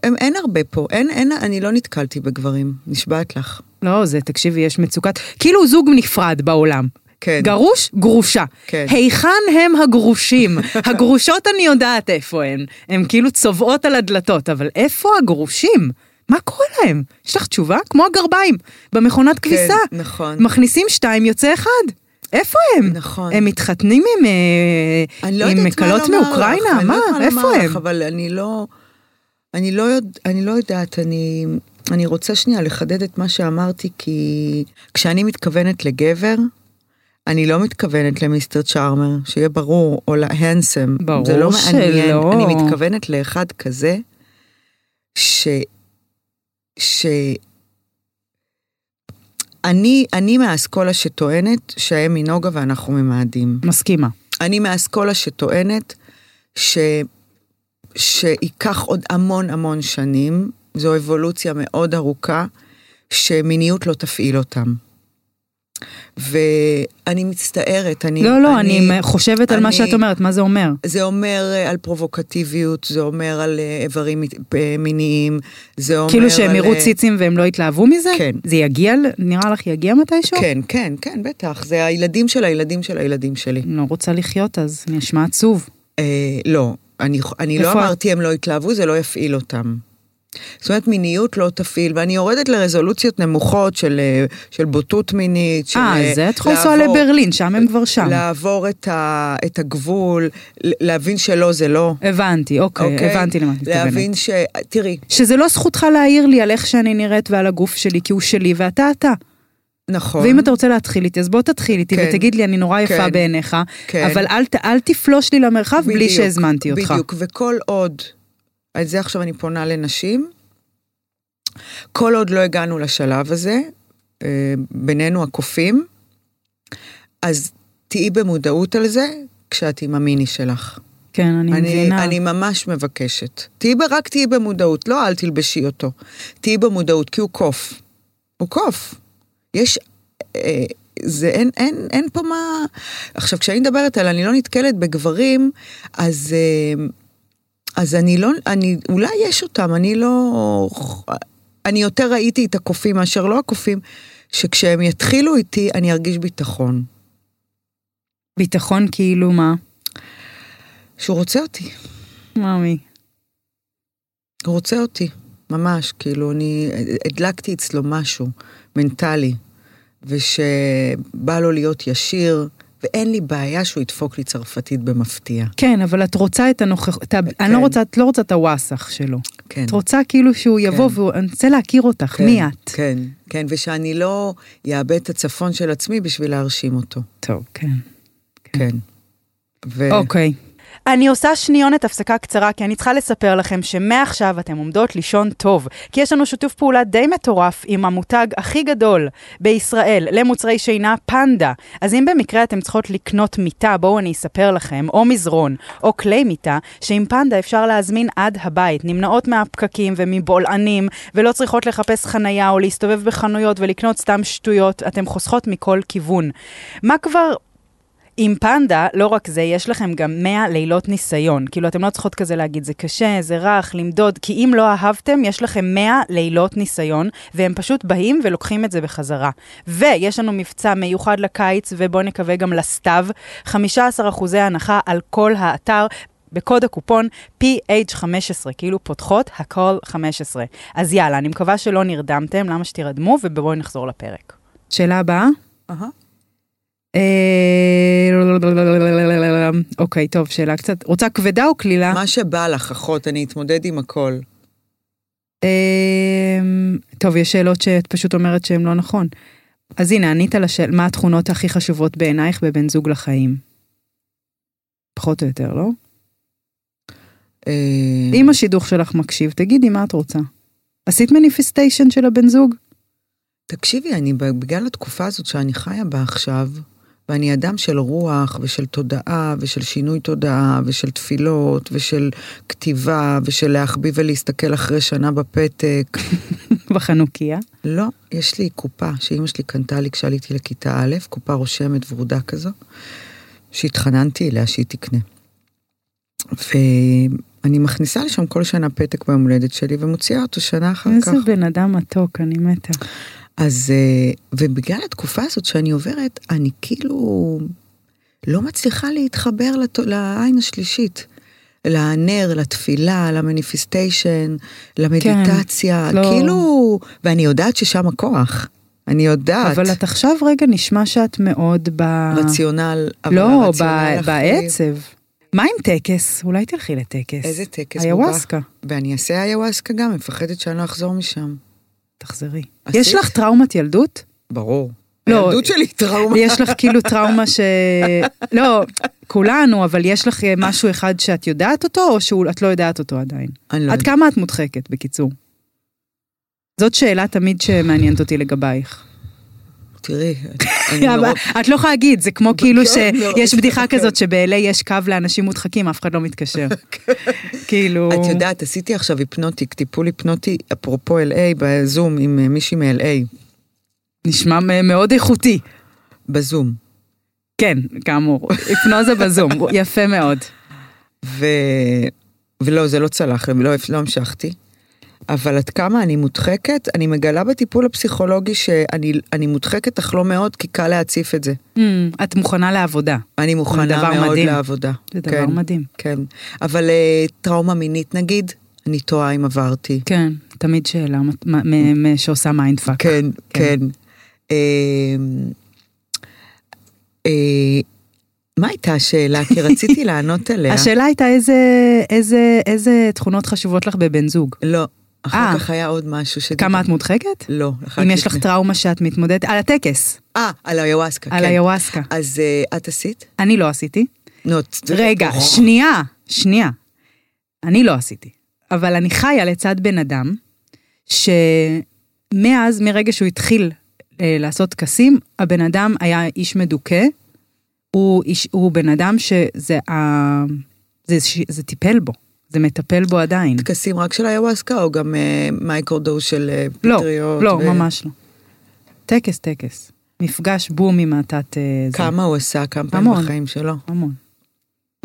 [SPEAKER 2] הם, אין הרבה פה, אין, אין, אני לא נתקלתי בגברים, נשבעת לך.
[SPEAKER 3] לא, זה, תקשיבי, יש מצוקת... כאילו זוג נפרד בעולם.
[SPEAKER 2] כן.
[SPEAKER 3] גרוש, גרושה.
[SPEAKER 2] כן.
[SPEAKER 3] היכן הם הגרושים? הגרושות אני יודעת איפה הן. הן כאילו צובעות על הדלתות, אבל איפה הגרושים? מה קורה להם? יש לך תשובה? כמו הגרביים, במכונת כביסה.
[SPEAKER 2] נכון.
[SPEAKER 3] מכניסים שתיים, יוצא אחד. איפה הם?
[SPEAKER 2] נכון.
[SPEAKER 3] הם מתחתנים עם, אה,
[SPEAKER 2] אני לא
[SPEAKER 3] עם
[SPEAKER 2] יודעת מה
[SPEAKER 3] מקלות
[SPEAKER 2] לומר לך,
[SPEAKER 3] מאוקראינה?
[SPEAKER 2] אני לא
[SPEAKER 3] מה?
[SPEAKER 2] יודעת
[SPEAKER 3] איפה
[SPEAKER 2] לומר
[SPEAKER 3] הם?
[SPEAKER 2] לך, אבל אני לא, אני לא, יודע, אני לא יודעת, אני, אני רוצה שנייה לחדד את מה שאמרתי, כי כשאני מתכוונת לגבר, אני לא מתכוונת למיסטר צ'ארמר, שיהיה ברור, או להנסם.
[SPEAKER 3] ברור
[SPEAKER 2] זה לא מעניין.
[SPEAKER 3] שלא.
[SPEAKER 2] אני מתכוונת לאחד כזה, ש... ש... אני, אני מהאסכולה שטוענת שהאם היא נוגה ואנחנו ממאדים.
[SPEAKER 3] מסכימה.
[SPEAKER 2] אני מהאסכולה שטוענת ש... שייקח עוד המון המון שנים, זו אבולוציה מאוד ארוכה, שמיניות לא תפעיל אותם. ואני מצטערת, אני...
[SPEAKER 3] לא, לא, אני חושבת על מה
[SPEAKER 2] אני-
[SPEAKER 3] שאת אומרת, מה זה אומר?
[SPEAKER 2] זה אומר אה, על פרובוקטיביות, זה אומר על אה, איברים מ- אה, מיניים, זה אומר
[SPEAKER 3] כאילו שהם
[SPEAKER 2] על,
[SPEAKER 3] יראו
[SPEAKER 2] אה,
[SPEAKER 3] ציצים והם לא יתלהבו מזה?
[SPEAKER 2] כן.
[SPEAKER 3] זה יגיע, ל- נראה לך יגיע מתישהו?
[SPEAKER 2] כן, כן, כן, בטח, זה הילדים של הילדים של הילדים שלי.
[SPEAKER 3] אני לא רוצה לחיות אז, נשמע עצוב.
[SPEAKER 2] אה, לא, אני, אני לא
[SPEAKER 3] איפה?
[SPEAKER 2] אמרתי הם לא יתלהבו, זה לא יפעיל אותם. זאת אומרת, מיניות לא תפעיל, ואני יורדת לרזולוציות נמוכות של, אה, של בוטות מינית, של...
[SPEAKER 3] אה,
[SPEAKER 2] אה,
[SPEAKER 3] זה את חוסר
[SPEAKER 2] לעבור-
[SPEAKER 3] לברלין, שם הם כבר שם.
[SPEAKER 2] לעבור את, ה, את הגבול, ל- להבין שלא זה לא.
[SPEAKER 3] הבנתי, אוקיי, הבנתי למה את מתכוונת.
[SPEAKER 2] להבין ש... תראי,
[SPEAKER 3] שזה לא זכותך להעיר לי על איך שאני נראית ועל הגוף שלי, כי הוא שלי ואתה אתה.
[SPEAKER 2] נכון.
[SPEAKER 3] ואם אתה רוצה להתחיל איתי, אז בוא תתחיל איתי
[SPEAKER 2] כן.
[SPEAKER 3] ותגיד לי, אני נורא יפה
[SPEAKER 2] כן.
[SPEAKER 3] בעיניך,
[SPEAKER 2] כן.
[SPEAKER 3] אבל אל ת- אל תפלוש לי למרחב בלי
[SPEAKER 2] בדיוק,
[SPEAKER 3] שהזמנתי אותך.
[SPEAKER 2] בדיוק, וכל עוד, את זה עכשיו אני פונה לנשים, כל עוד לא הגענו לשלב הזה, אה, בינינו הקופים, אז תהיי במודעות על זה כשאת עם המיני שלך.
[SPEAKER 3] כן, אני מבינה.
[SPEAKER 2] אני ממש מבקשת. תהיי, ב- רק תהיי במודעות, לא אל תלבשי אותו. תהיי במודעות, כי הוא קוף. הוא קוף. יש... אה, זה אין, אין, אין פה מה... עכשיו, כשאני מדברת על אני לא נתקלת בגברים, אז... אה, אז אני לא... אני... אולי יש אותם, אני לא... אני יותר ראיתי את הקופים מאשר לא הקופים, שכשהם יתחילו איתי, אני ארגיש ביטחון.
[SPEAKER 3] ביטחון כאילו מה?
[SPEAKER 2] שהוא רוצה אותי.
[SPEAKER 3] מאמי.
[SPEAKER 2] הוא רוצה אותי, ממש, כאילו, אני הדלקתי אצלו משהו מנטלי, ושבא לו להיות ישיר, ואין לי בעיה שהוא ידפוק לי צרפתית במפתיע.
[SPEAKER 3] כן, אבל את רוצה את הנוכחות, אני
[SPEAKER 2] כן.
[SPEAKER 3] לא רוצה, את לא רוצה את הוואסך שללו.
[SPEAKER 2] כן.
[SPEAKER 3] את רוצה כאילו שהוא יבוא והוא, אני רוצה להכיר אותך,
[SPEAKER 2] כן,
[SPEAKER 3] מי את?
[SPEAKER 2] כן, כן, ושאני לא אאבד את הצפון של עצמי בשביל להרשים אותו.
[SPEAKER 3] טוב, כן.
[SPEAKER 2] כן. ו...
[SPEAKER 3] אוקיי. אני עושה שניונת הפסקה קצרה, כי אני צריכה לספר לכם שמעכשיו אתם עומדות לישון טוב, כי יש לנו שיתוף פעולה די מטורף עם המותג הכי גדול בישראל למוצרי שינה, פנדה. אז אם במקרה אתם צריכות לקנות מיטה, בואו אני אספר לכם, או מזרון, או כלי מיטה, שעם פנדה אפשר להזמין עד הבית, נמנעות מהפקקים ומבולענים, ולא צריכות לחפש חנייה או להסתובב בחנויות ולקנות סתם שטויות, אתן חוסכות מכל כיוון. מה כבר עם פנדה, לא רק זה, יש לכם גם 100 לילות ניסיון. כאילו, אתם לא צריכות כזה להגיד, זה קשה, זה רך, למדוד, כי אם לא אהבתם, יש לכם 100 לילות ניסיון, והם פשוט באים ולוקחים את זה בחזרה. ויש לנו מבצע מיוחד לקיץ, ובואו נקווה גם לסתיו, 15% הנחה על כל האתר. בקוד הקופון PH15, כאילו פותחות הכל 15. אז יאללה, אני מקווה שלא נרדמתם, למה שתירדמו, ובואו נחזור לפרק. שאלה הבאה? אוקיי.
[SPEAKER 2] אהה.
[SPEAKER 3] אה, אוקיי, טוב, שאלה קצת. רוצה כבדה או קלילה?
[SPEAKER 2] מה שבא לך, אחות, אני אתמודד עם הכל.
[SPEAKER 3] אה, טוב, יש שאלות שאת פשוט אומרת שהן לא נכון. אז הנה, ענית על השאלה, מה התכונות הכי חשובות בעינייך בבן זוג לחיים? פחות או יותר, לא?
[SPEAKER 2] אה,
[SPEAKER 3] אם השידוך שלך מקשיב, תגידי מה את רוצה. עשית מניפיסטיישן של הבן זוג?
[SPEAKER 2] תקשיבי, אני בגלל התקופה הזאת שאני חיה בה עכשיו, ואני אדם של רוח ושל תודעה ושל שינוי תודעה ושל תפילות ושל כתיבה ושל להחביא ולהסתכל אחרי שנה בפתק.
[SPEAKER 3] בחנוכיה?
[SPEAKER 2] לא, יש לי קופה שאימא שלי קנתה לי כשעליתי לכיתה א', קופה רושמת ורודה כזו, שהתחננתי אליה שהיא תקנה. ואני מכניסה לשם כל שנה פתק ביום הולדת שלי ומוציאה אותו שנה אחר כך.
[SPEAKER 3] איזה בן אדם מתוק, אני מתה.
[SPEAKER 2] אז, אה, ובגלל התקופה הזאת שאני עוברת, אני כאילו לא מצליחה להתחבר לת... לעין השלישית. לנר, לתפילה, למניפיסטיישן, למדיטציה,
[SPEAKER 3] לא.
[SPEAKER 2] לא... כאילו, ואני יודעת ששם הכוח. אני יודעת.
[SPEAKER 3] אבל את עכשיו רגע נשמע שאת מאוד ב...
[SPEAKER 2] רציונל, אבל
[SPEAKER 3] לא,
[SPEAKER 2] הרציונל
[SPEAKER 3] ב-
[SPEAKER 2] הכי-
[SPEAKER 3] בעצב. מה עם טקס? אולי תלכי לטקס.
[SPEAKER 2] איזה טקס בובה.
[SPEAKER 3] איוואסקה.
[SPEAKER 2] ואני אעשה איוואסקה גם, מפחדת שאני לא אחזור משם.
[SPEAKER 3] תחזרי.
[SPEAKER 2] עשית?
[SPEAKER 3] יש לך טראומת ילדות?
[SPEAKER 2] ברור.
[SPEAKER 3] לא.
[SPEAKER 2] הילדות שלי היא טראומה.
[SPEAKER 3] יש לך כאילו טראומה ש... לא, כולנו, אבל יש לך אה, משהו אחד שאת יודעת אותו, או שאת לא יודעת אותו עדיין?
[SPEAKER 2] אני לא
[SPEAKER 3] עד
[SPEAKER 2] יודעת.
[SPEAKER 3] כמה את מודחקת, בקיצור? זאת שאלה תמיד שמעניינת אותי לגבייך.
[SPEAKER 2] תראי, אני
[SPEAKER 3] אבל
[SPEAKER 2] נורא
[SPEAKER 3] את לא יכולה להגיד, זה כמו כאילו
[SPEAKER 2] כן, לא,
[SPEAKER 3] שיש
[SPEAKER 2] כן,
[SPEAKER 3] בדיחה
[SPEAKER 2] כן.
[SPEAKER 3] כזאת שב-LA יש קו לאנשים מודחקים, אף אחד לא מתקשר. כאילו...
[SPEAKER 2] כן. את יודעת, עשיתי עכשיו היפנוטיק, טיפול היפנוטי, אפרופו LA, בזום עם אה, מישהי מ-LA,
[SPEAKER 3] נשמע מ- מאוד איכותי.
[SPEAKER 2] בזום.
[SPEAKER 3] כן, כאמור, היפנוזה בזום, יפה מאוד.
[SPEAKER 2] ו... ולא, זה לא צלח, לא, לא המשכתי. אבל עד כמה אני מודחקת, אני מגלה בטיפול הפסיכולוגי שאני אני מודחקת, אך לא מאוד, כי קל להציף את זה.
[SPEAKER 3] Mm, את מוכנה לעבודה,
[SPEAKER 2] אני
[SPEAKER 3] דבר
[SPEAKER 2] מוכנה מאוד
[SPEAKER 3] מדהים.
[SPEAKER 2] לעבודה.
[SPEAKER 3] זה דבר
[SPEAKER 2] כן,
[SPEAKER 3] מדהים.
[SPEAKER 2] כן. אבל אה, טראומה מינית נגיד, אני תוהה אם עברתי.
[SPEAKER 3] כן, תמיד שאלה מ- מ- מ- שעושה מיינדפאק.
[SPEAKER 2] כן, כן. אה, אה, מה הייתה השאלה? כי רציתי לענות עליה.
[SPEAKER 3] השאלה הייתה איזה, איזה, איזה תכונות חשובות לך בבן זוג.
[SPEAKER 2] לא, אחר
[SPEAKER 3] אה.
[SPEAKER 2] כך היה עוד משהו שדיברתי.
[SPEAKER 3] כמה את מודחקת?
[SPEAKER 2] לא, אחר
[SPEAKER 3] אם
[SPEAKER 2] כך
[SPEAKER 3] יש לך
[SPEAKER 2] לפני.
[SPEAKER 3] טראומה שאת מתמודדת, על הטקס,
[SPEAKER 2] אה, על היוואסקה,
[SPEAKER 3] על
[SPEAKER 2] כן.
[SPEAKER 3] היוואסקה.
[SPEAKER 2] אז אה, את עשית?
[SPEAKER 3] אני לא עשיתי.
[SPEAKER 2] נו,
[SPEAKER 3] רגע, שנייה, שנייה. אני לא עשיתי, אבל אני חיה לצד בן אדם, שמאז, מרגע שהוא התחיל אה, לעשות טקסים, הבן אדם היה איש מדוכא. הוא, איש, הוא בן אדם שזה ה... זה, זה, זה טיפל בו, זה מטפל בו עדיין.
[SPEAKER 2] טקסים רק של היוואסקה, או גם אה, מייקרודו של אה,
[SPEAKER 3] לא,
[SPEAKER 2] פטריות?
[SPEAKER 3] לא,
[SPEAKER 2] ו-
[SPEAKER 3] ממש לא. טקס, טקס. מפגש בום עם התת... אה, זה.
[SPEAKER 2] כמה הוא עשה, כמה פעמים
[SPEAKER 3] המון.
[SPEAKER 2] בחיים שלו.
[SPEAKER 3] המון.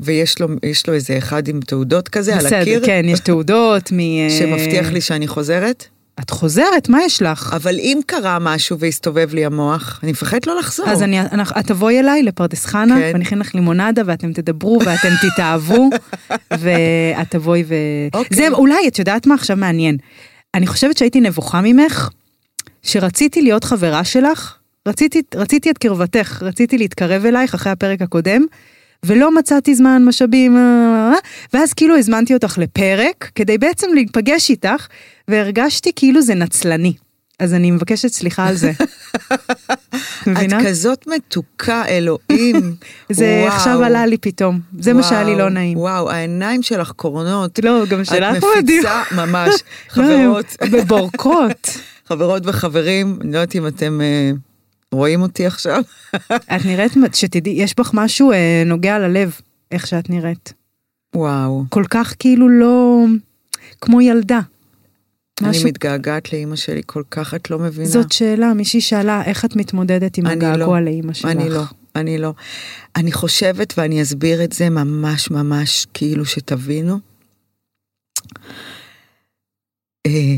[SPEAKER 2] ויש לו, יש לו איזה אחד עם תעודות כזה על הקיר,
[SPEAKER 3] בסדר, כן, יש תעודות מ... אה,
[SPEAKER 2] שמבטיח לי שאני חוזרת.
[SPEAKER 3] את חוזרת, מה יש לך?
[SPEAKER 2] אבל אם קרה משהו והסתובב לי המוח, אני מפחדת לא לחזור.
[SPEAKER 3] אז אני, אנחנו- את תבואי אליי לפרדס חנה,
[SPEAKER 2] כן.
[SPEAKER 3] ואני אכין לך לימונדה, ואתם תדברו, ואתם תתאהבו, ואת תבואי ו...
[SPEAKER 2] אוקיי.
[SPEAKER 3] זה אולי, את יודעת מה עכשיו מעניין? אני חושבת שהייתי נבוכה ממך, שרציתי להיות חברה שלך, רציתי, רציתי את קרבתך, רציתי להתקרב אלייך אחרי הפרק הקודם, ולא מצאתי זמן, משאבים, אה, אה, אה, ואז כאילו הזמנתי אותך לפרק, כדי בעצם להיפגש איתך, והרגשתי כאילו זה נצלני. אז אני מבקשת סליחה על זה. את מבינה?
[SPEAKER 2] את כזאת מתוקה, אלוהים.
[SPEAKER 3] זה
[SPEAKER 2] וואו.
[SPEAKER 3] עכשיו עלה לי פתאום, זה מה שהיה לי לא
[SPEAKER 2] וואו,
[SPEAKER 3] נעים.
[SPEAKER 2] וואו, העיניים שלך קורנות.
[SPEAKER 3] לא, גם שלך
[SPEAKER 2] את
[SPEAKER 3] מדהים.
[SPEAKER 2] מפיצה ממש.
[SPEAKER 3] לא,
[SPEAKER 2] חברות,
[SPEAKER 3] בבורקות.
[SPEAKER 2] חברות וחברים, אני לא יודעת אם אתם אה, רואים אותי עכשיו.
[SPEAKER 3] את נראית, מד- שתדעי, יש בך משהו אה, נוגע ללב, איך שאת נראית.
[SPEAKER 2] וואו,
[SPEAKER 3] כל כך כאילו לא... כמו ילדה.
[SPEAKER 2] אני
[SPEAKER 3] משהו,
[SPEAKER 2] מתגעגעת לאימא שלי כל כך, את לא מבינה.
[SPEAKER 3] זאת שאלה, מישהי שאלה איך את מתמודדת עם
[SPEAKER 2] אני
[SPEAKER 3] הגעגוע
[SPEAKER 2] לא.
[SPEAKER 3] לאימא שלך.
[SPEAKER 2] אני לא, אני לא. אני חושבת, ואני אסביר את זה ממש ממש כאילו שתבינו. אה,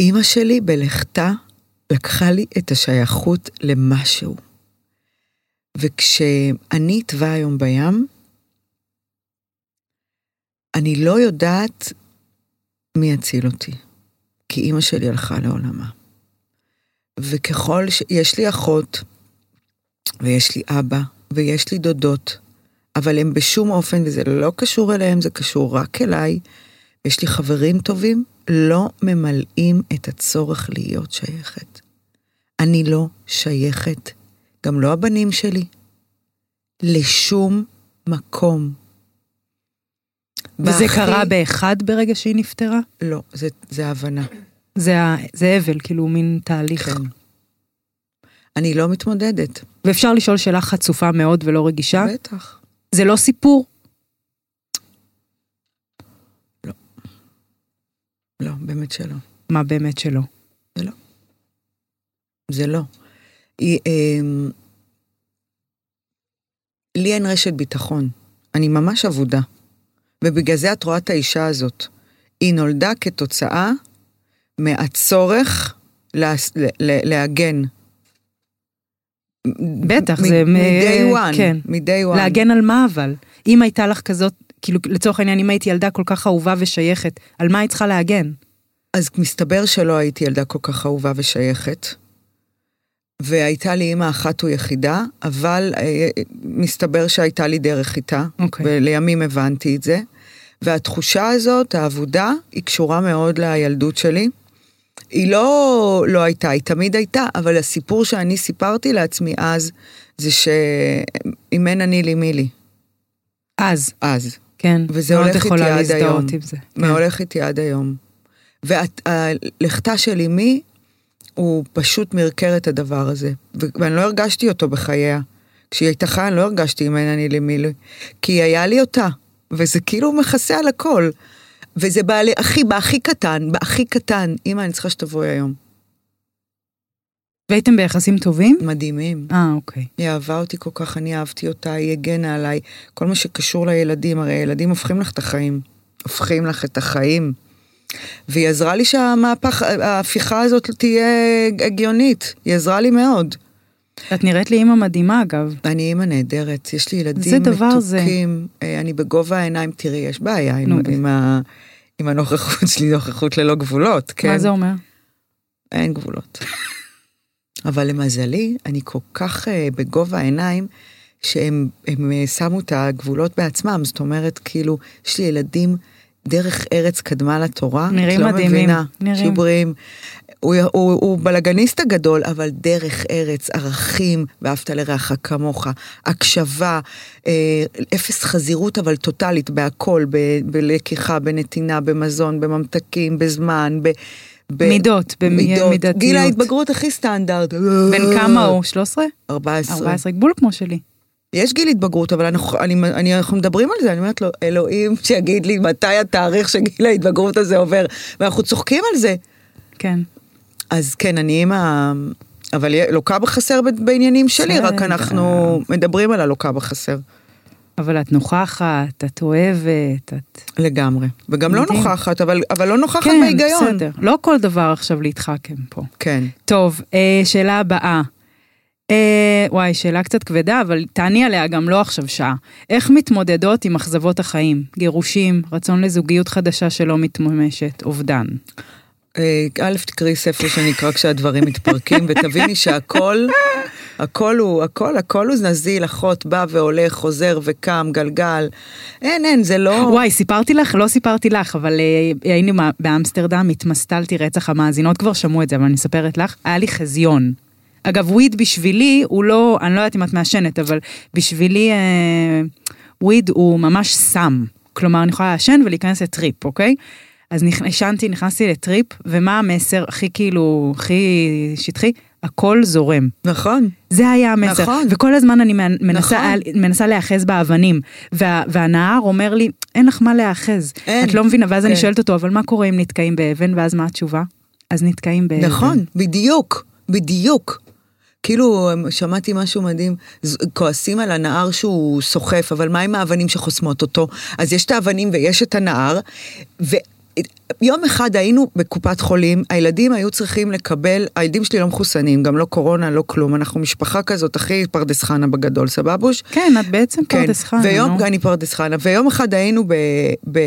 [SPEAKER 2] אימא שלי בלכתה לקחה לי את השייכות למשהו. וכשאני טבע היום בים, אני לא יודעת מי יציל אותי, כי אימא שלי הלכה לעולמה. וככל ש... יש לי אחות, ויש לי אבא, ויש לי דודות, אבל הם בשום אופן, וזה לא קשור אליהם, זה קשור רק אליי. יש לי חברים טובים, לא ממלאים את הצורך להיות שייכת. אני לא שייכת, גם לא הבנים שלי, לשום מקום.
[SPEAKER 3] וזה
[SPEAKER 2] בהכי-
[SPEAKER 3] קרה באחד ברגע שהיא נפטרה?
[SPEAKER 2] לא, זה, זה הבנה.
[SPEAKER 3] זה ה- זה אבל, כאילו מין תהליך.
[SPEAKER 2] כן. אני לא מתמודדת,
[SPEAKER 3] ואפשר לשאול שאלה חצופה מאוד ולא רגישה?
[SPEAKER 2] בטח.
[SPEAKER 3] זה לא סיפור?
[SPEAKER 2] לא, באמת שלא.
[SPEAKER 3] מה באמת שלא?
[SPEAKER 2] זה לא. היא, אמ, לי אין רשת ביטחון. אני ממש אבודה. ובגלל זה את רואה את האישה הזאת. היא נולדה כתוצאה מהצורך לה, ל, ל, להגן.
[SPEAKER 3] בטח,
[SPEAKER 2] מ-
[SPEAKER 3] זה... מ-
[SPEAKER 2] מ-day one.
[SPEAKER 3] כן.
[SPEAKER 2] מ-day one.
[SPEAKER 3] להגן על מה אבל? אם הייתה לך כזאת, כאילו לצורך העניין, אם הייתי ילדה כל כך אהובה ושייכת, על מה היית צריכה להגן?
[SPEAKER 2] אז מסתבר שלא הייתי ילדה כל כך אהובה ושייכת. והייתה לי אימא אחת ויחידה, אבל אה, מסתבר שהייתה לי דרך איתה.
[SPEAKER 3] אוקיי.
[SPEAKER 2] ולימים הבנתי את זה. והתחושה הזאת, האבודה, היא קשורה מאוד לילדות שלי. היא לא, לא הייתה, היא תמיד הייתה, אבל הסיפור שאני סיפרתי לעצמי אז, זה שאם אין אני לי מי לי,
[SPEAKER 3] אז,
[SPEAKER 2] אז.
[SPEAKER 3] כן.
[SPEAKER 2] וזה
[SPEAKER 3] מאוד
[SPEAKER 2] הולך איתי
[SPEAKER 3] יכולה
[SPEAKER 2] עד
[SPEAKER 3] להזדהות
[SPEAKER 2] היום.
[SPEAKER 3] עם זה. כן.
[SPEAKER 2] מהולך איתי עד היום. והלכתה של אמי, הוא פשוט מרקר את הדבר הזה. ו- ואני לא הרגשתי אותו בחייה. כשהיא הייתה חיה, אני לא הרגשתי אם אין אני למי לי. כי היה לי אותה, וזה כאילו מכסה על הכל. וזה בא לי, אחי, בהכי קטן, בהכי קטן. אמא, אני צריכה שתבואי היום.
[SPEAKER 3] והייתם ביחסים טובים?
[SPEAKER 2] מדהימים.
[SPEAKER 3] אה, אוקיי.
[SPEAKER 2] היא אהבה אותי כל כך, אני אהבתי אותה, היא הגנה עליי. כל מה שקשור לילדים, הרי הילדים הופכים לך את החיים. הופכים לך את החיים. והיא עזרה לי שהמהפך, ההפיכה הזאת תהיה הגיונית. היא עזרה לי מאוד.
[SPEAKER 3] את נראית לי אימא מדהימה אגב.
[SPEAKER 2] אני אימא נהדרת, יש לי ילדים אה,
[SPEAKER 3] זה דבר זה.
[SPEAKER 2] מתוקים. זה. אני בגובה העיניים, תראי, יש בעיה עם,
[SPEAKER 3] נו,
[SPEAKER 2] עם, ה, עם הנוכחות שלי, נוכחות ללא גבולות, כן?
[SPEAKER 3] מה זה אומר?
[SPEAKER 2] אין גבולות. אבל למזלי, אני כל כך אה, בגובה העיניים, שהם הם, אה, שמו את הגבולות בעצמם. זאת אומרת, כאילו, יש לי ילדים דרך ארץ קדמה לתורה.
[SPEAKER 3] נראים
[SPEAKER 2] את לא
[SPEAKER 3] מדהימים,
[SPEAKER 2] מבינה,
[SPEAKER 3] נראים.
[SPEAKER 2] שיהיו בריאים. הוא, הוא, הוא בלאגניסט הגדול, אבל דרך ארץ, ערכים, ואהבת לרעך כמוך, הקשבה, אה, אפס חזירות, אבל טוטאלית, בהכל, ב, בלקיחה, בנתינה, במזון, בממתקים, בזמן, ב... ב-
[SPEAKER 3] מידות, במידתיות.
[SPEAKER 2] גיל ההתבגרות הכי סטנדרט.
[SPEAKER 3] בן כמה הוא? 13?
[SPEAKER 2] 14.
[SPEAKER 3] 14, גבול כמו שלי.
[SPEAKER 2] יש גיל התבגרות, אבל אנחנו, אני, אני, אנחנו מדברים על זה, אני אומרת לו, אלוהים, שיגיד לי מתי התאריך שגיל ההתבגרות הזה עובר, ואנחנו צוחקים על זה.
[SPEAKER 3] כן.
[SPEAKER 2] אז כן, אני אימא, אבל היא לוקה בחסר ב- בעניינים שלי, רק
[SPEAKER 3] בסדר.
[SPEAKER 2] אנחנו מדברים על הלוקה בחסר.
[SPEAKER 3] אבל את נוכחת, את אוהבת, את...
[SPEAKER 2] לגמרי. וגם לא
[SPEAKER 3] מדהים. כן,
[SPEAKER 2] נוכחת, אבל, אבל לא נוכחת בהיגיון.
[SPEAKER 3] בסדר. לא כל דבר עכשיו להתחכם פה.
[SPEAKER 2] כן.
[SPEAKER 3] טוב, אה, שאלה הבאה. אה, וואי, שאלה קצת כבדה, אבל תעני עליה גם לא עכשיו שעה. איך מתמודדות עם אכזבות החיים? גירושים, רצון לזוגיות חדשה שלא מתממשת, אובדן.
[SPEAKER 2] אה, א', תקראי ספר שנקרא כשהדברים מתפרקים, ותביני שהכל, הכל הוא, הכל, הכל הוא נזיל, אחות, בא והולך, חוזר וקם, גלגל. אין, אין, זה לא...
[SPEAKER 3] וואי, סיפרתי לך? לא סיפרתי לך, אבל אה, היינו מה- באמסטרדם, התמסטלתי רצח, המאזינות כבר שמעו את זה, אבל אני מספרת לך, היה לי חזיון. אגב, וויד בשבילי הוא לא, אני לא יודעת אם את מעשנת, אבל בשבילי אה, וויד הוא ממש סם. כלומר, אני יכולה לעשן ולהיכנס לטריפ, אוקיי? אז נכ- עישנתי, נכנסתי לטריפ, ומה המסר הכי כאילו, הכי שטחי? הכל זורם.
[SPEAKER 2] נכון.
[SPEAKER 3] זה היה המסר.
[SPEAKER 2] נכון.
[SPEAKER 3] וכל הזמן אני מנ- מנסה,
[SPEAKER 2] נכון.
[SPEAKER 3] מנסה להיאחז באבנים, וה, והנהר אומר לי, אין לך מה להיאחז.
[SPEAKER 2] אין.
[SPEAKER 3] את לא מבינה, ואז אני
[SPEAKER 2] כן.
[SPEAKER 3] שואלת אותו, אבל מה קורה אם נתקעים באבן, ואז מה התשובה? אז נתקעים באבן.
[SPEAKER 2] נכון, בדיוק, בדיוק. כאילו, שמעתי משהו מדהים, ז- כועסים על הנהר שהוא סוחף, אבל מה עם האבנים שחוסמות אותו? אז יש את האבנים ויש את הנהר, ויום אחד היינו בקופת חולים, הילדים היו צריכים לקבל, הילדים שלי לא מחוסנים, גם לא קורונה, לא כלום, אנחנו משפחה כזאת, הכי פרדס חנה בגדול, סבבוש?
[SPEAKER 3] כן, את בעצם
[SPEAKER 2] כן,
[SPEAKER 3] פרדס חנה,
[SPEAKER 2] ויום,
[SPEAKER 3] נו.
[SPEAKER 2] אני פרדס חנה, ויום אחד היינו ב... ב...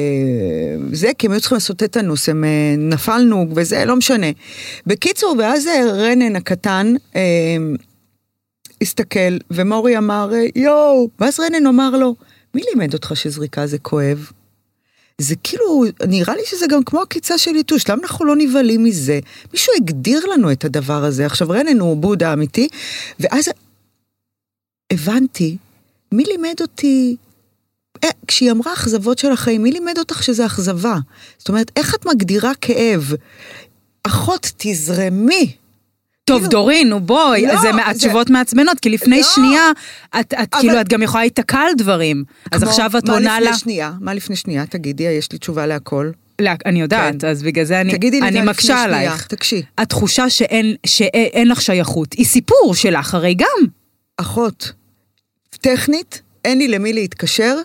[SPEAKER 2] זה, כי הם היו צריכים לעשות טטנוס, הם אה, נפלנו וזה, לא משנה. בקיצור, ואז אה, רנן הקטן אה, הסתכל, ומורי אמר, אה, יואו, ואז רנן אמר לו, מי לימד אותך שזריקה זה כואב? זה כאילו, נראה לי שזה גם כמו עקיצה של יתוש, למה אנחנו לא נבהלים מזה? מישהו הגדיר לנו את הדבר הזה. עכשיו, רנן הוא בודה אמיתי, ואז הבנתי, מי לימד אותי... אה, כשהיא אמרה אכזבות של החיים, מי לימד אותך שזה אכזבה? זאת אומרת, איך את מגדירה כאב? אחות, תזרמי.
[SPEAKER 3] טוב,
[SPEAKER 2] כאילו-
[SPEAKER 3] דורין, נו בואי,
[SPEAKER 2] לא,
[SPEAKER 3] אז זה
[SPEAKER 2] זה-
[SPEAKER 3] התשובות מעצבנות, כי לפני
[SPEAKER 2] לא.
[SPEAKER 3] שנייה, את, את
[SPEAKER 2] אבל-
[SPEAKER 3] כאילו, את גם יכולה להיתקע על דברים. אז
[SPEAKER 2] כמו,
[SPEAKER 3] עכשיו את
[SPEAKER 2] מה
[SPEAKER 3] עונה
[SPEAKER 2] לפני
[SPEAKER 3] לה...
[SPEAKER 2] שנייה? מה לפני שנייה? תגידי, יש לי תשובה להכל.
[SPEAKER 3] לה... אני יודעת, אז בגלל זה אני,
[SPEAKER 2] כן. תגידי לי
[SPEAKER 3] אני
[SPEAKER 2] את זה
[SPEAKER 3] מקשה
[SPEAKER 2] לפני שנייה,
[SPEAKER 3] עלייך.
[SPEAKER 2] תקשיב.
[SPEAKER 3] התחושה שאין, שאין לך שייכות, היא סיפור שלך הרי גם.
[SPEAKER 2] אחות, טכנית, אין לי למי להתקשר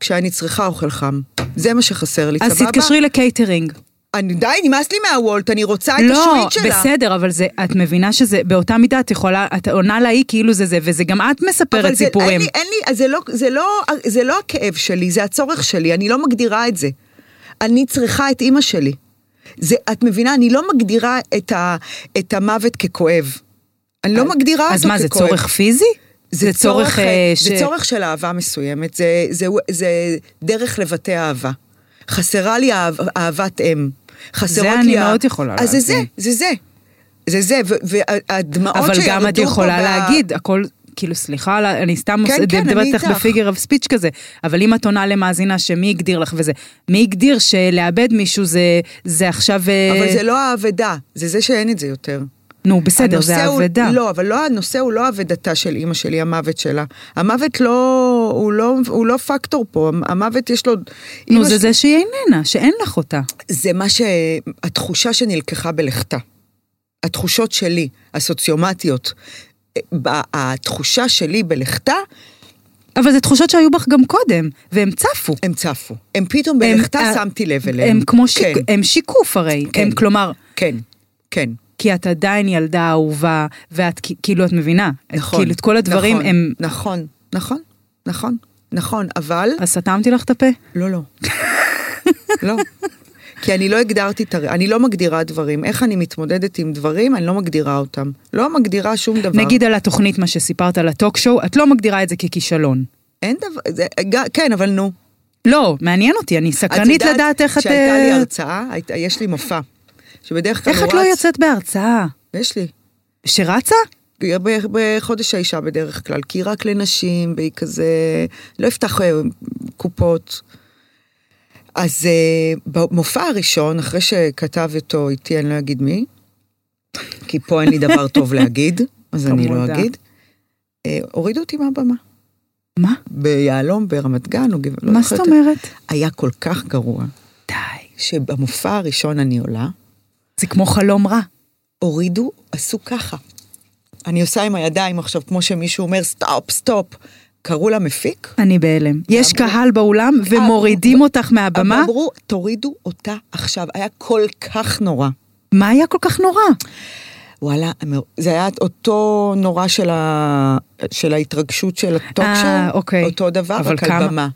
[SPEAKER 2] כשאני צריכה אוכל חם. זה מה שחסר לי,
[SPEAKER 3] אז
[SPEAKER 2] סבבה?
[SPEAKER 3] תתקשרי לקייטרינג.
[SPEAKER 2] אני, די, נמאס לי מהוולט, אני רוצה את
[SPEAKER 3] לא,
[SPEAKER 2] השביט שלה.
[SPEAKER 3] בסדר, אבל זה, את מבינה שזה, באותה מידה את יכולה, את עונה להיא כאילו זה זה, וזה גם את
[SPEAKER 2] אבל
[SPEAKER 3] מספרת
[SPEAKER 2] זה, אין
[SPEAKER 3] סיפורים.
[SPEAKER 2] לי, אין לי, אז זה לא, זה, לא, זה לא הכאב שלי, זה הצורך שלי, אני לא מגדירה את זה. אני צריכה את אימא שלי. זה, את מבינה, אני לא מגדירה את, ה, את המוות ככואב. אני לא מגדירה אותו
[SPEAKER 3] אז מה,
[SPEAKER 2] ככואב.
[SPEAKER 3] זה צורך פיזי? זה צורך... אה,
[SPEAKER 2] אה,
[SPEAKER 3] ש-
[SPEAKER 2] זה צורך של אהבה מסוימת, זה, זה, זה דרך לבטא אהבה. חסרה לי אהב, אהבת אם. חסרות לי...
[SPEAKER 3] זה אני
[SPEAKER 2] ה-
[SPEAKER 3] מאוד יכולה
[SPEAKER 2] אז זה זה,
[SPEAKER 3] להבין.
[SPEAKER 2] זה זה. זה זה, ו- והדמעות
[SPEAKER 3] אבל
[SPEAKER 2] שירדו פה...
[SPEAKER 3] גם את יכולה
[SPEAKER 2] ב-
[SPEAKER 3] להגיד, הכל... כאילו, סליחה, על ה- אני סתם
[SPEAKER 2] כן,
[SPEAKER 3] עושה-
[SPEAKER 2] כן, אני
[SPEAKER 3] מדברת איתך
[SPEAKER 2] איתך.
[SPEAKER 3] בפיגר אב ספיץ' כזה, אבל אם את עונה למאזינה שמי הגדיר לך וזה, מי הגדיר שלאבד מישהו זה- זה עכשיו... אה,
[SPEAKER 2] אבל זה לא האבדה, זה זה שאין את זה יותר.
[SPEAKER 3] נו, בסדר, זה
[SPEAKER 2] הנושא הוא-
[SPEAKER 3] האבדה.
[SPEAKER 2] לא, אבל לא, הנושא הוא לא אבדתה של אימא שלי, המוות שלה. המוות לא, הוא לא, הוא לא פקטור פה, המוות יש לו...
[SPEAKER 3] נו,
[SPEAKER 2] אמא
[SPEAKER 3] זה
[SPEAKER 2] שלי-
[SPEAKER 3] זה שהיא איננה, שאין לך אותה.
[SPEAKER 2] זה מה ש... התחושה שנלקחה בלכתה. התחושות שלי, הסוציומטיות. אה, ב- התחושה שלי בלכתה,
[SPEAKER 3] אבל זה תחושות שהיו בך גם קודם, והם צפו.
[SPEAKER 2] הם צפו. הם פתאום
[SPEAKER 3] הם-
[SPEAKER 2] בלכתה
[SPEAKER 3] אה,
[SPEAKER 2] שמתי לב אליהם.
[SPEAKER 3] הם כמו שיק,
[SPEAKER 2] כן,
[SPEAKER 3] הם שיקוף הרי.
[SPEAKER 2] כן.
[SPEAKER 3] הם כלומר,
[SPEAKER 2] כן, כן.
[SPEAKER 3] כי את עדיין ילדה אהובה, ואת כ- כאילו את מבינה. את-
[SPEAKER 2] נכון.
[SPEAKER 3] כאילו את כל הדברים
[SPEAKER 2] נכון,
[SPEAKER 3] הם...
[SPEAKER 2] נכון, נכון, נכון, נכון, אבל...
[SPEAKER 3] אז סתמתי לך את הפה?
[SPEAKER 2] לא, לא. לא. כי אני לא הגדרתי, את הר- אני לא מגדירה דברים. איך אני מתמודדת עם דברים, אני לא מגדירה אותם. לא מגדירה שום דבר.
[SPEAKER 3] נגיד על התוכנית, מה שסיפרת על הטוק שואו, את לא מגדירה את זה ככישלון.
[SPEAKER 2] אין דבר, זה, ג- כן, אבל נו.
[SPEAKER 3] לא, מעניין אותי, אני
[SPEAKER 2] את
[SPEAKER 3] סקרנית
[SPEAKER 2] יודעת,
[SPEAKER 3] לדעת איך את...
[SPEAKER 2] כשהייתה לי
[SPEAKER 3] אה,
[SPEAKER 2] הרצאה, היית, יש לי מופע. שבדרך כלל
[SPEAKER 3] איך
[SPEAKER 2] הוא
[SPEAKER 3] את לא
[SPEAKER 2] רץ-
[SPEAKER 3] יוצאת בהרצאה?
[SPEAKER 2] יש לי.
[SPEAKER 3] שרצה?
[SPEAKER 2] ב- בחודש האישה בדרך כלל, כי היא רק לנשים, והיא כזה, לא אפתח אה, קופות. אז אה, במופע הראשון, אחרי שכתב אותו איתי, אני לא אגיד מי, כי פה אין לי דבר טוב להגיד, אז אני לא
[SPEAKER 3] חמודה.
[SPEAKER 2] אגיד, אה, הורידו אותי מהבמה.
[SPEAKER 3] מה?
[SPEAKER 2] ביהלום, ברמת גן, או גבע... לא
[SPEAKER 3] מה
[SPEAKER 2] זוכרת.
[SPEAKER 3] זאת אומרת?
[SPEAKER 2] היה כל כך גרוע,
[SPEAKER 3] די.
[SPEAKER 2] שבמופע הראשון אני עולה,
[SPEAKER 3] זה כמו חלום רע.
[SPEAKER 2] הורידו, עשו ככה. אני עושה עם הידיים עכשיו, כמו שמישהו אומר, סטופ, סטופ. קראו למפיק.
[SPEAKER 3] אני בהלם. יש
[SPEAKER 2] אמרו-
[SPEAKER 3] קהל באולם
[SPEAKER 2] אה,
[SPEAKER 3] ומורידים אותך מהבמה?
[SPEAKER 2] אמרו, תורידו אותה עכשיו. היה כל כך נורא.
[SPEAKER 3] מה היה כל כך נורא?
[SPEAKER 2] וואלה, אמר- זה היה אותו נורא של, ה... של ההתרגשות של
[SPEAKER 3] אה,
[SPEAKER 2] הטוקשו.
[SPEAKER 3] אוקיי.
[SPEAKER 2] אותו דבר,
[SPEAKER 3] אבל
[SPEAKER 2] רק
[SPEAKER 3] כמה?
[SPEAKER 2] על במה.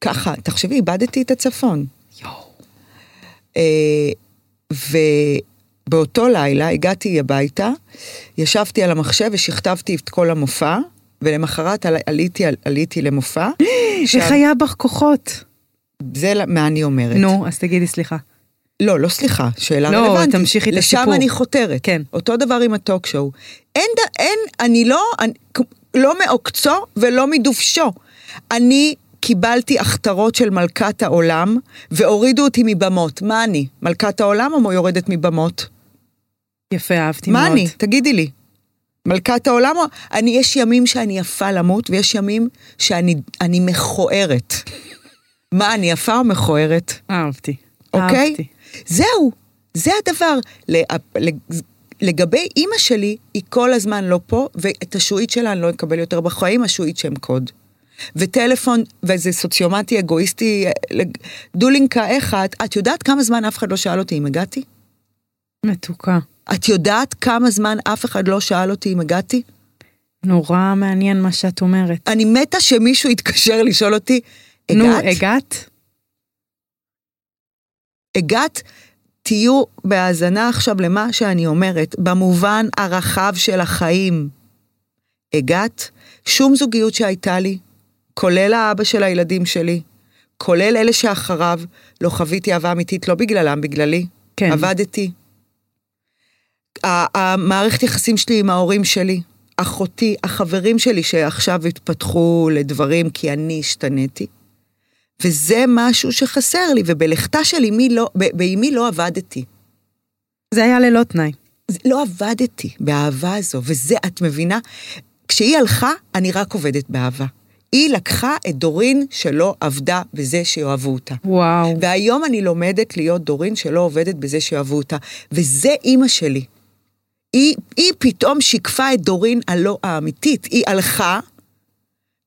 [SPEAKER 2] ככה, תחשבי, איבדתי את הצפון.
[SPEAKER 3] יואו.
[SPEAKER 2] אה, ובאותו לילה הגעתי הביתה, ישבתי על המחשב ושכתבתי את כל המופע, ולמחרת על, עליתי, על, עליתי למופע.
[SPEAKER 3] איך היה בך כוחות?
[SPEAKER 2] זה ל- מה אני אומרת.
[SPEAKER 3] נו, אז תגידי סליחה.
[SPEAKER 2] לא, לא סליחה, שאלה
[SPEAKER 3] לא,
[SPEAKER 2] רלוונטית.
[SPEAKER 3] תמשיכי את
[SPEAKER 2] לשם
[SPEAKER 3] הסיפור.
[SPEAKER 2] אני חותרת.
[SPEAKER 3] כן.
[SPEAKER 2] אותו דבר עם הטוק שואו. אין, ד- אין, אני לא, אני, כ- לא מעוקצו ולא מדובשו. אני קיבלתי הכתרות של מלכת העולם, והורידו אותי מבמות. מה אני? מלכת העולם או יורדת מבמות?
[SPEAKER 3] יפה, אהבתי מאוד.
[SPEAKER 2] מה אני? תגידי לי. מלכת העולם? או- אני, יש ימים שאני יפה למות, ויש ימים שאני אני מכוערת. מה, אני יפה או מכוערת?
[SPEAKER 3] אהבתי.
[SPEAKER 2] אוקיי?
[SPEAKER 3] אהבתי.
[SPEAKER 2] זהו, זה הדבר. ל- לג- לגבי אימא שלי, היא כל הזמן לא פה, ואת השעועית שלה אני לא אקבל יותר בחיים, השעועית שם קוד. וטלפון, וזה סוציומטי אגואיסטי, אה, לג- דולינקה, איך את? את יודעת כמה זמן אף אחד לא שאל אותי אם הגעתי?
[SPEAKER 3] מתוקה.
[SPEAKER 2] את יודעת כמה זמן אף אחד לא שאל אותי אם הגעתי?
[SPEAKER 3] נורא מעניין מה שאת אומרת.
[SPEAKER 2] אני מתה שמישהו יתקשר לשאול אותי, הגעת?
[SPEAKER 3] נו, הגעת?
[SPEAKER 2] הגעת, תהיו בהאזנה עכשיו למה שאני אומרת, במובן הרחב של החיים. הגעת, שום זוגיות שהייתה לי, כולל האבא של הילדים שלי, כולל אלה שאחריו, לא חוויתי אהבה אמיתית, לא בגללם, בגללי.
[SPEAKER 3] כן.
[SPEAKER 2] עבדתי. ה- המערכת יחסים שלי עם ההורים שלי, אחותי, החברים שלי שעכשיו התפתחו לדברים כי אני השתניתי. וזה משהו שחסר לי, ובלכתה של אמי לא, ב- באמי לא עבדתי.
[SPEAKER 3] זה היה ללא תנאי.
[SPEAKER 2] זה- לא עבדתי באהבה הזו, וזה, את מבינה? כשהיא הלכה, אני רק עובדת באהבה. היא לקחה את דורין שלא עבדה בזה שאוהבו אותה.
[SPEAKER 3] וואו.
[SPEAKER 2] והיום אני לומדת להיות דורין שלא עובדת בזה שאהבו אותה. וזה אימא שלי. היא, היא פתאום שיקפה את דורין הלא האמיתית. היא הלכה,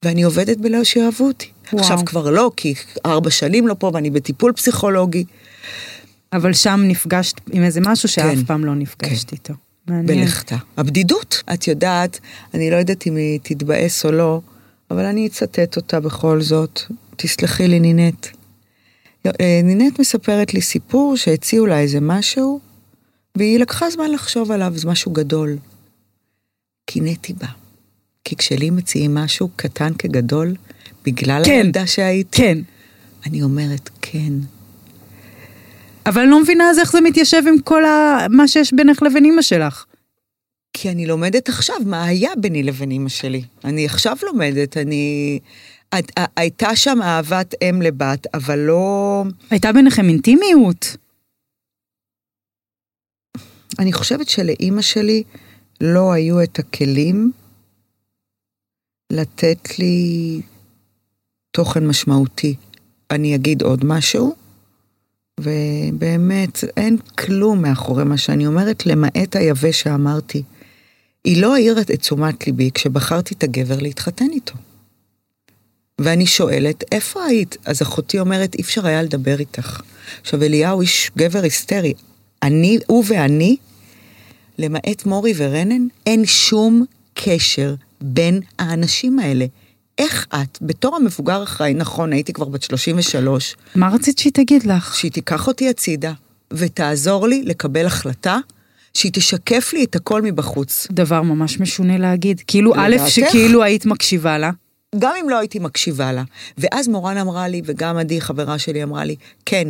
[SPEAKER 2] ואני עובדת בלא שאהבו אותי.
[SPEAKER 3] וואו.
[SPEAKER 2] וואו. עכשיו כבר לא, כי ארבע שנים לא פה ואני בטיפול פסיכולוגי.
[SPEAKER 3] אבל שם נפגשת עם איזה משהו שאף
[SPEAKER 2] כן.
[SPEAKER 3] פעם לא נפגשת איתו. מעניין.
[SPEAKER 2] בלכתה. הבדידות, את יודעת, אני לא יודעת אם היא תתבאס או לא, אבל אני אצטט אותה בכל זאת. תסלחי לי, נינט. אה, נינט מספרת לי סיפור שהציעו לה איזה משהו, והיא לקחה זמן לחשוב עליו, זה משהו גדול. קינאתי בה. כי כשלי מציעים משהו קטן כגדול, בגלל
[SPEAKER 3] כן.
[SPEAKER 2] הילדה שהייתי,
[SPEAKER 3] כן.
[SPEAKER 2] אני אומרת כן.
[SPEAKER 3] אבל אני לא מבינה אז איך זה מתיישב עם כל ה... מה שיש בינך לבין אימא שלך.
[SPEAKER 2] כי אני לומדת עכשיו מה היה ביני לבין אימא שלי. אני עכשיו לומדת, אני... את, ה, הייתה שם אהבת אם לבת, אבל לא...
[SPEAKER 3] הייתה ביניכם אינטימיות.
[SPEAKER 2] אני חושבת שלאימא שלי לא היו את הכלים לתת לי תוכן משמעותי. אני אגיד עוד משהו, ובאמת, אין כלום מאחורי מה שאני אומרת, למעט היבש שאמרתי. היא לא העירה את תשומת ליבי כשבחרתי את הגבר להתחתן איתו. ואני שואלת, איפה היית? אז אחותי אומרת, אי אפשר היה לדבר איתך. עכשיו, אליהו איש גבר היסטרי. אני, הוא ואני, למעט מורי ורנן, אין שום קשר בין האנשים האלה. איך את, בתור המבוגר אחראי, נכון, הייתי כבר בת 33,
[SPEAKER 3] מה רצית שהיא תגיד לך?
[SPEAKER 2] שהיא תיקח אותי הצידה ותעזור לי לקבל החלטה, שהיא תשקף לי את הכל מבחוץ.
[SPEAKER 3] דבר ממש משונה להגיד. כאילו, א',
[SPEAKER 2] לדעתך?
[SPEAKER 3] שכאילו היית מקשיבה לה.
[SPEAKER 2] גם אם לא הייתי מקשיבה לה. ואז מורן אמרה לי, וגם עדי, חברה שלי, אמרה לי, כן,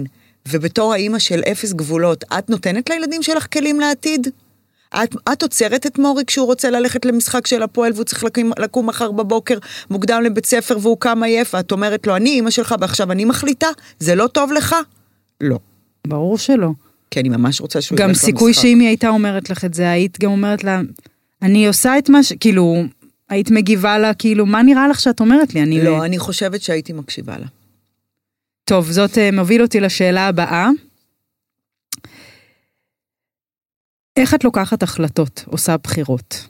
[SPEAKER 2] ובתור האימא של אפס גבולות, את נותנת לילדים שלך כלים לעתיד? את, את עוצרת את מורי כשהוא רוצה ללכת למשחק של הפועל והוא צריך לקום, לקום מחר בבוקר מוקדם לבית ספר והוא קם עייף, ואת אומרת לו, אני אימא שלך ועכשיו אני מחליטה? זה לא טוב לך? לא.
[SPEAKER 3] ברור שלא.
[SPEAKER 2] כי אני ממש רוצה שהוא
[SPEAKER 3] גם
[SPEAKER 2] ילך
[SPEAKER 3] סיכוי
[SPEAKER 2] למשחק.
[SPEAKER 3] שאם היא הייתה אומרת לך את זה, היית גם אומרת לה, אני עושה את מה ש... כאילו, היית מגיבה לה, כאילו, מה נראה לך שאת אומרת לי? אני...
[SPEAKER 2] לא, אני חושבת שהייתי מקשיבה לה.
[SPEAKER 3] טוב, זאת אה, מוביל אותי לשאלה הבאה. איך את לוקחת החלטות, עושה בחירות?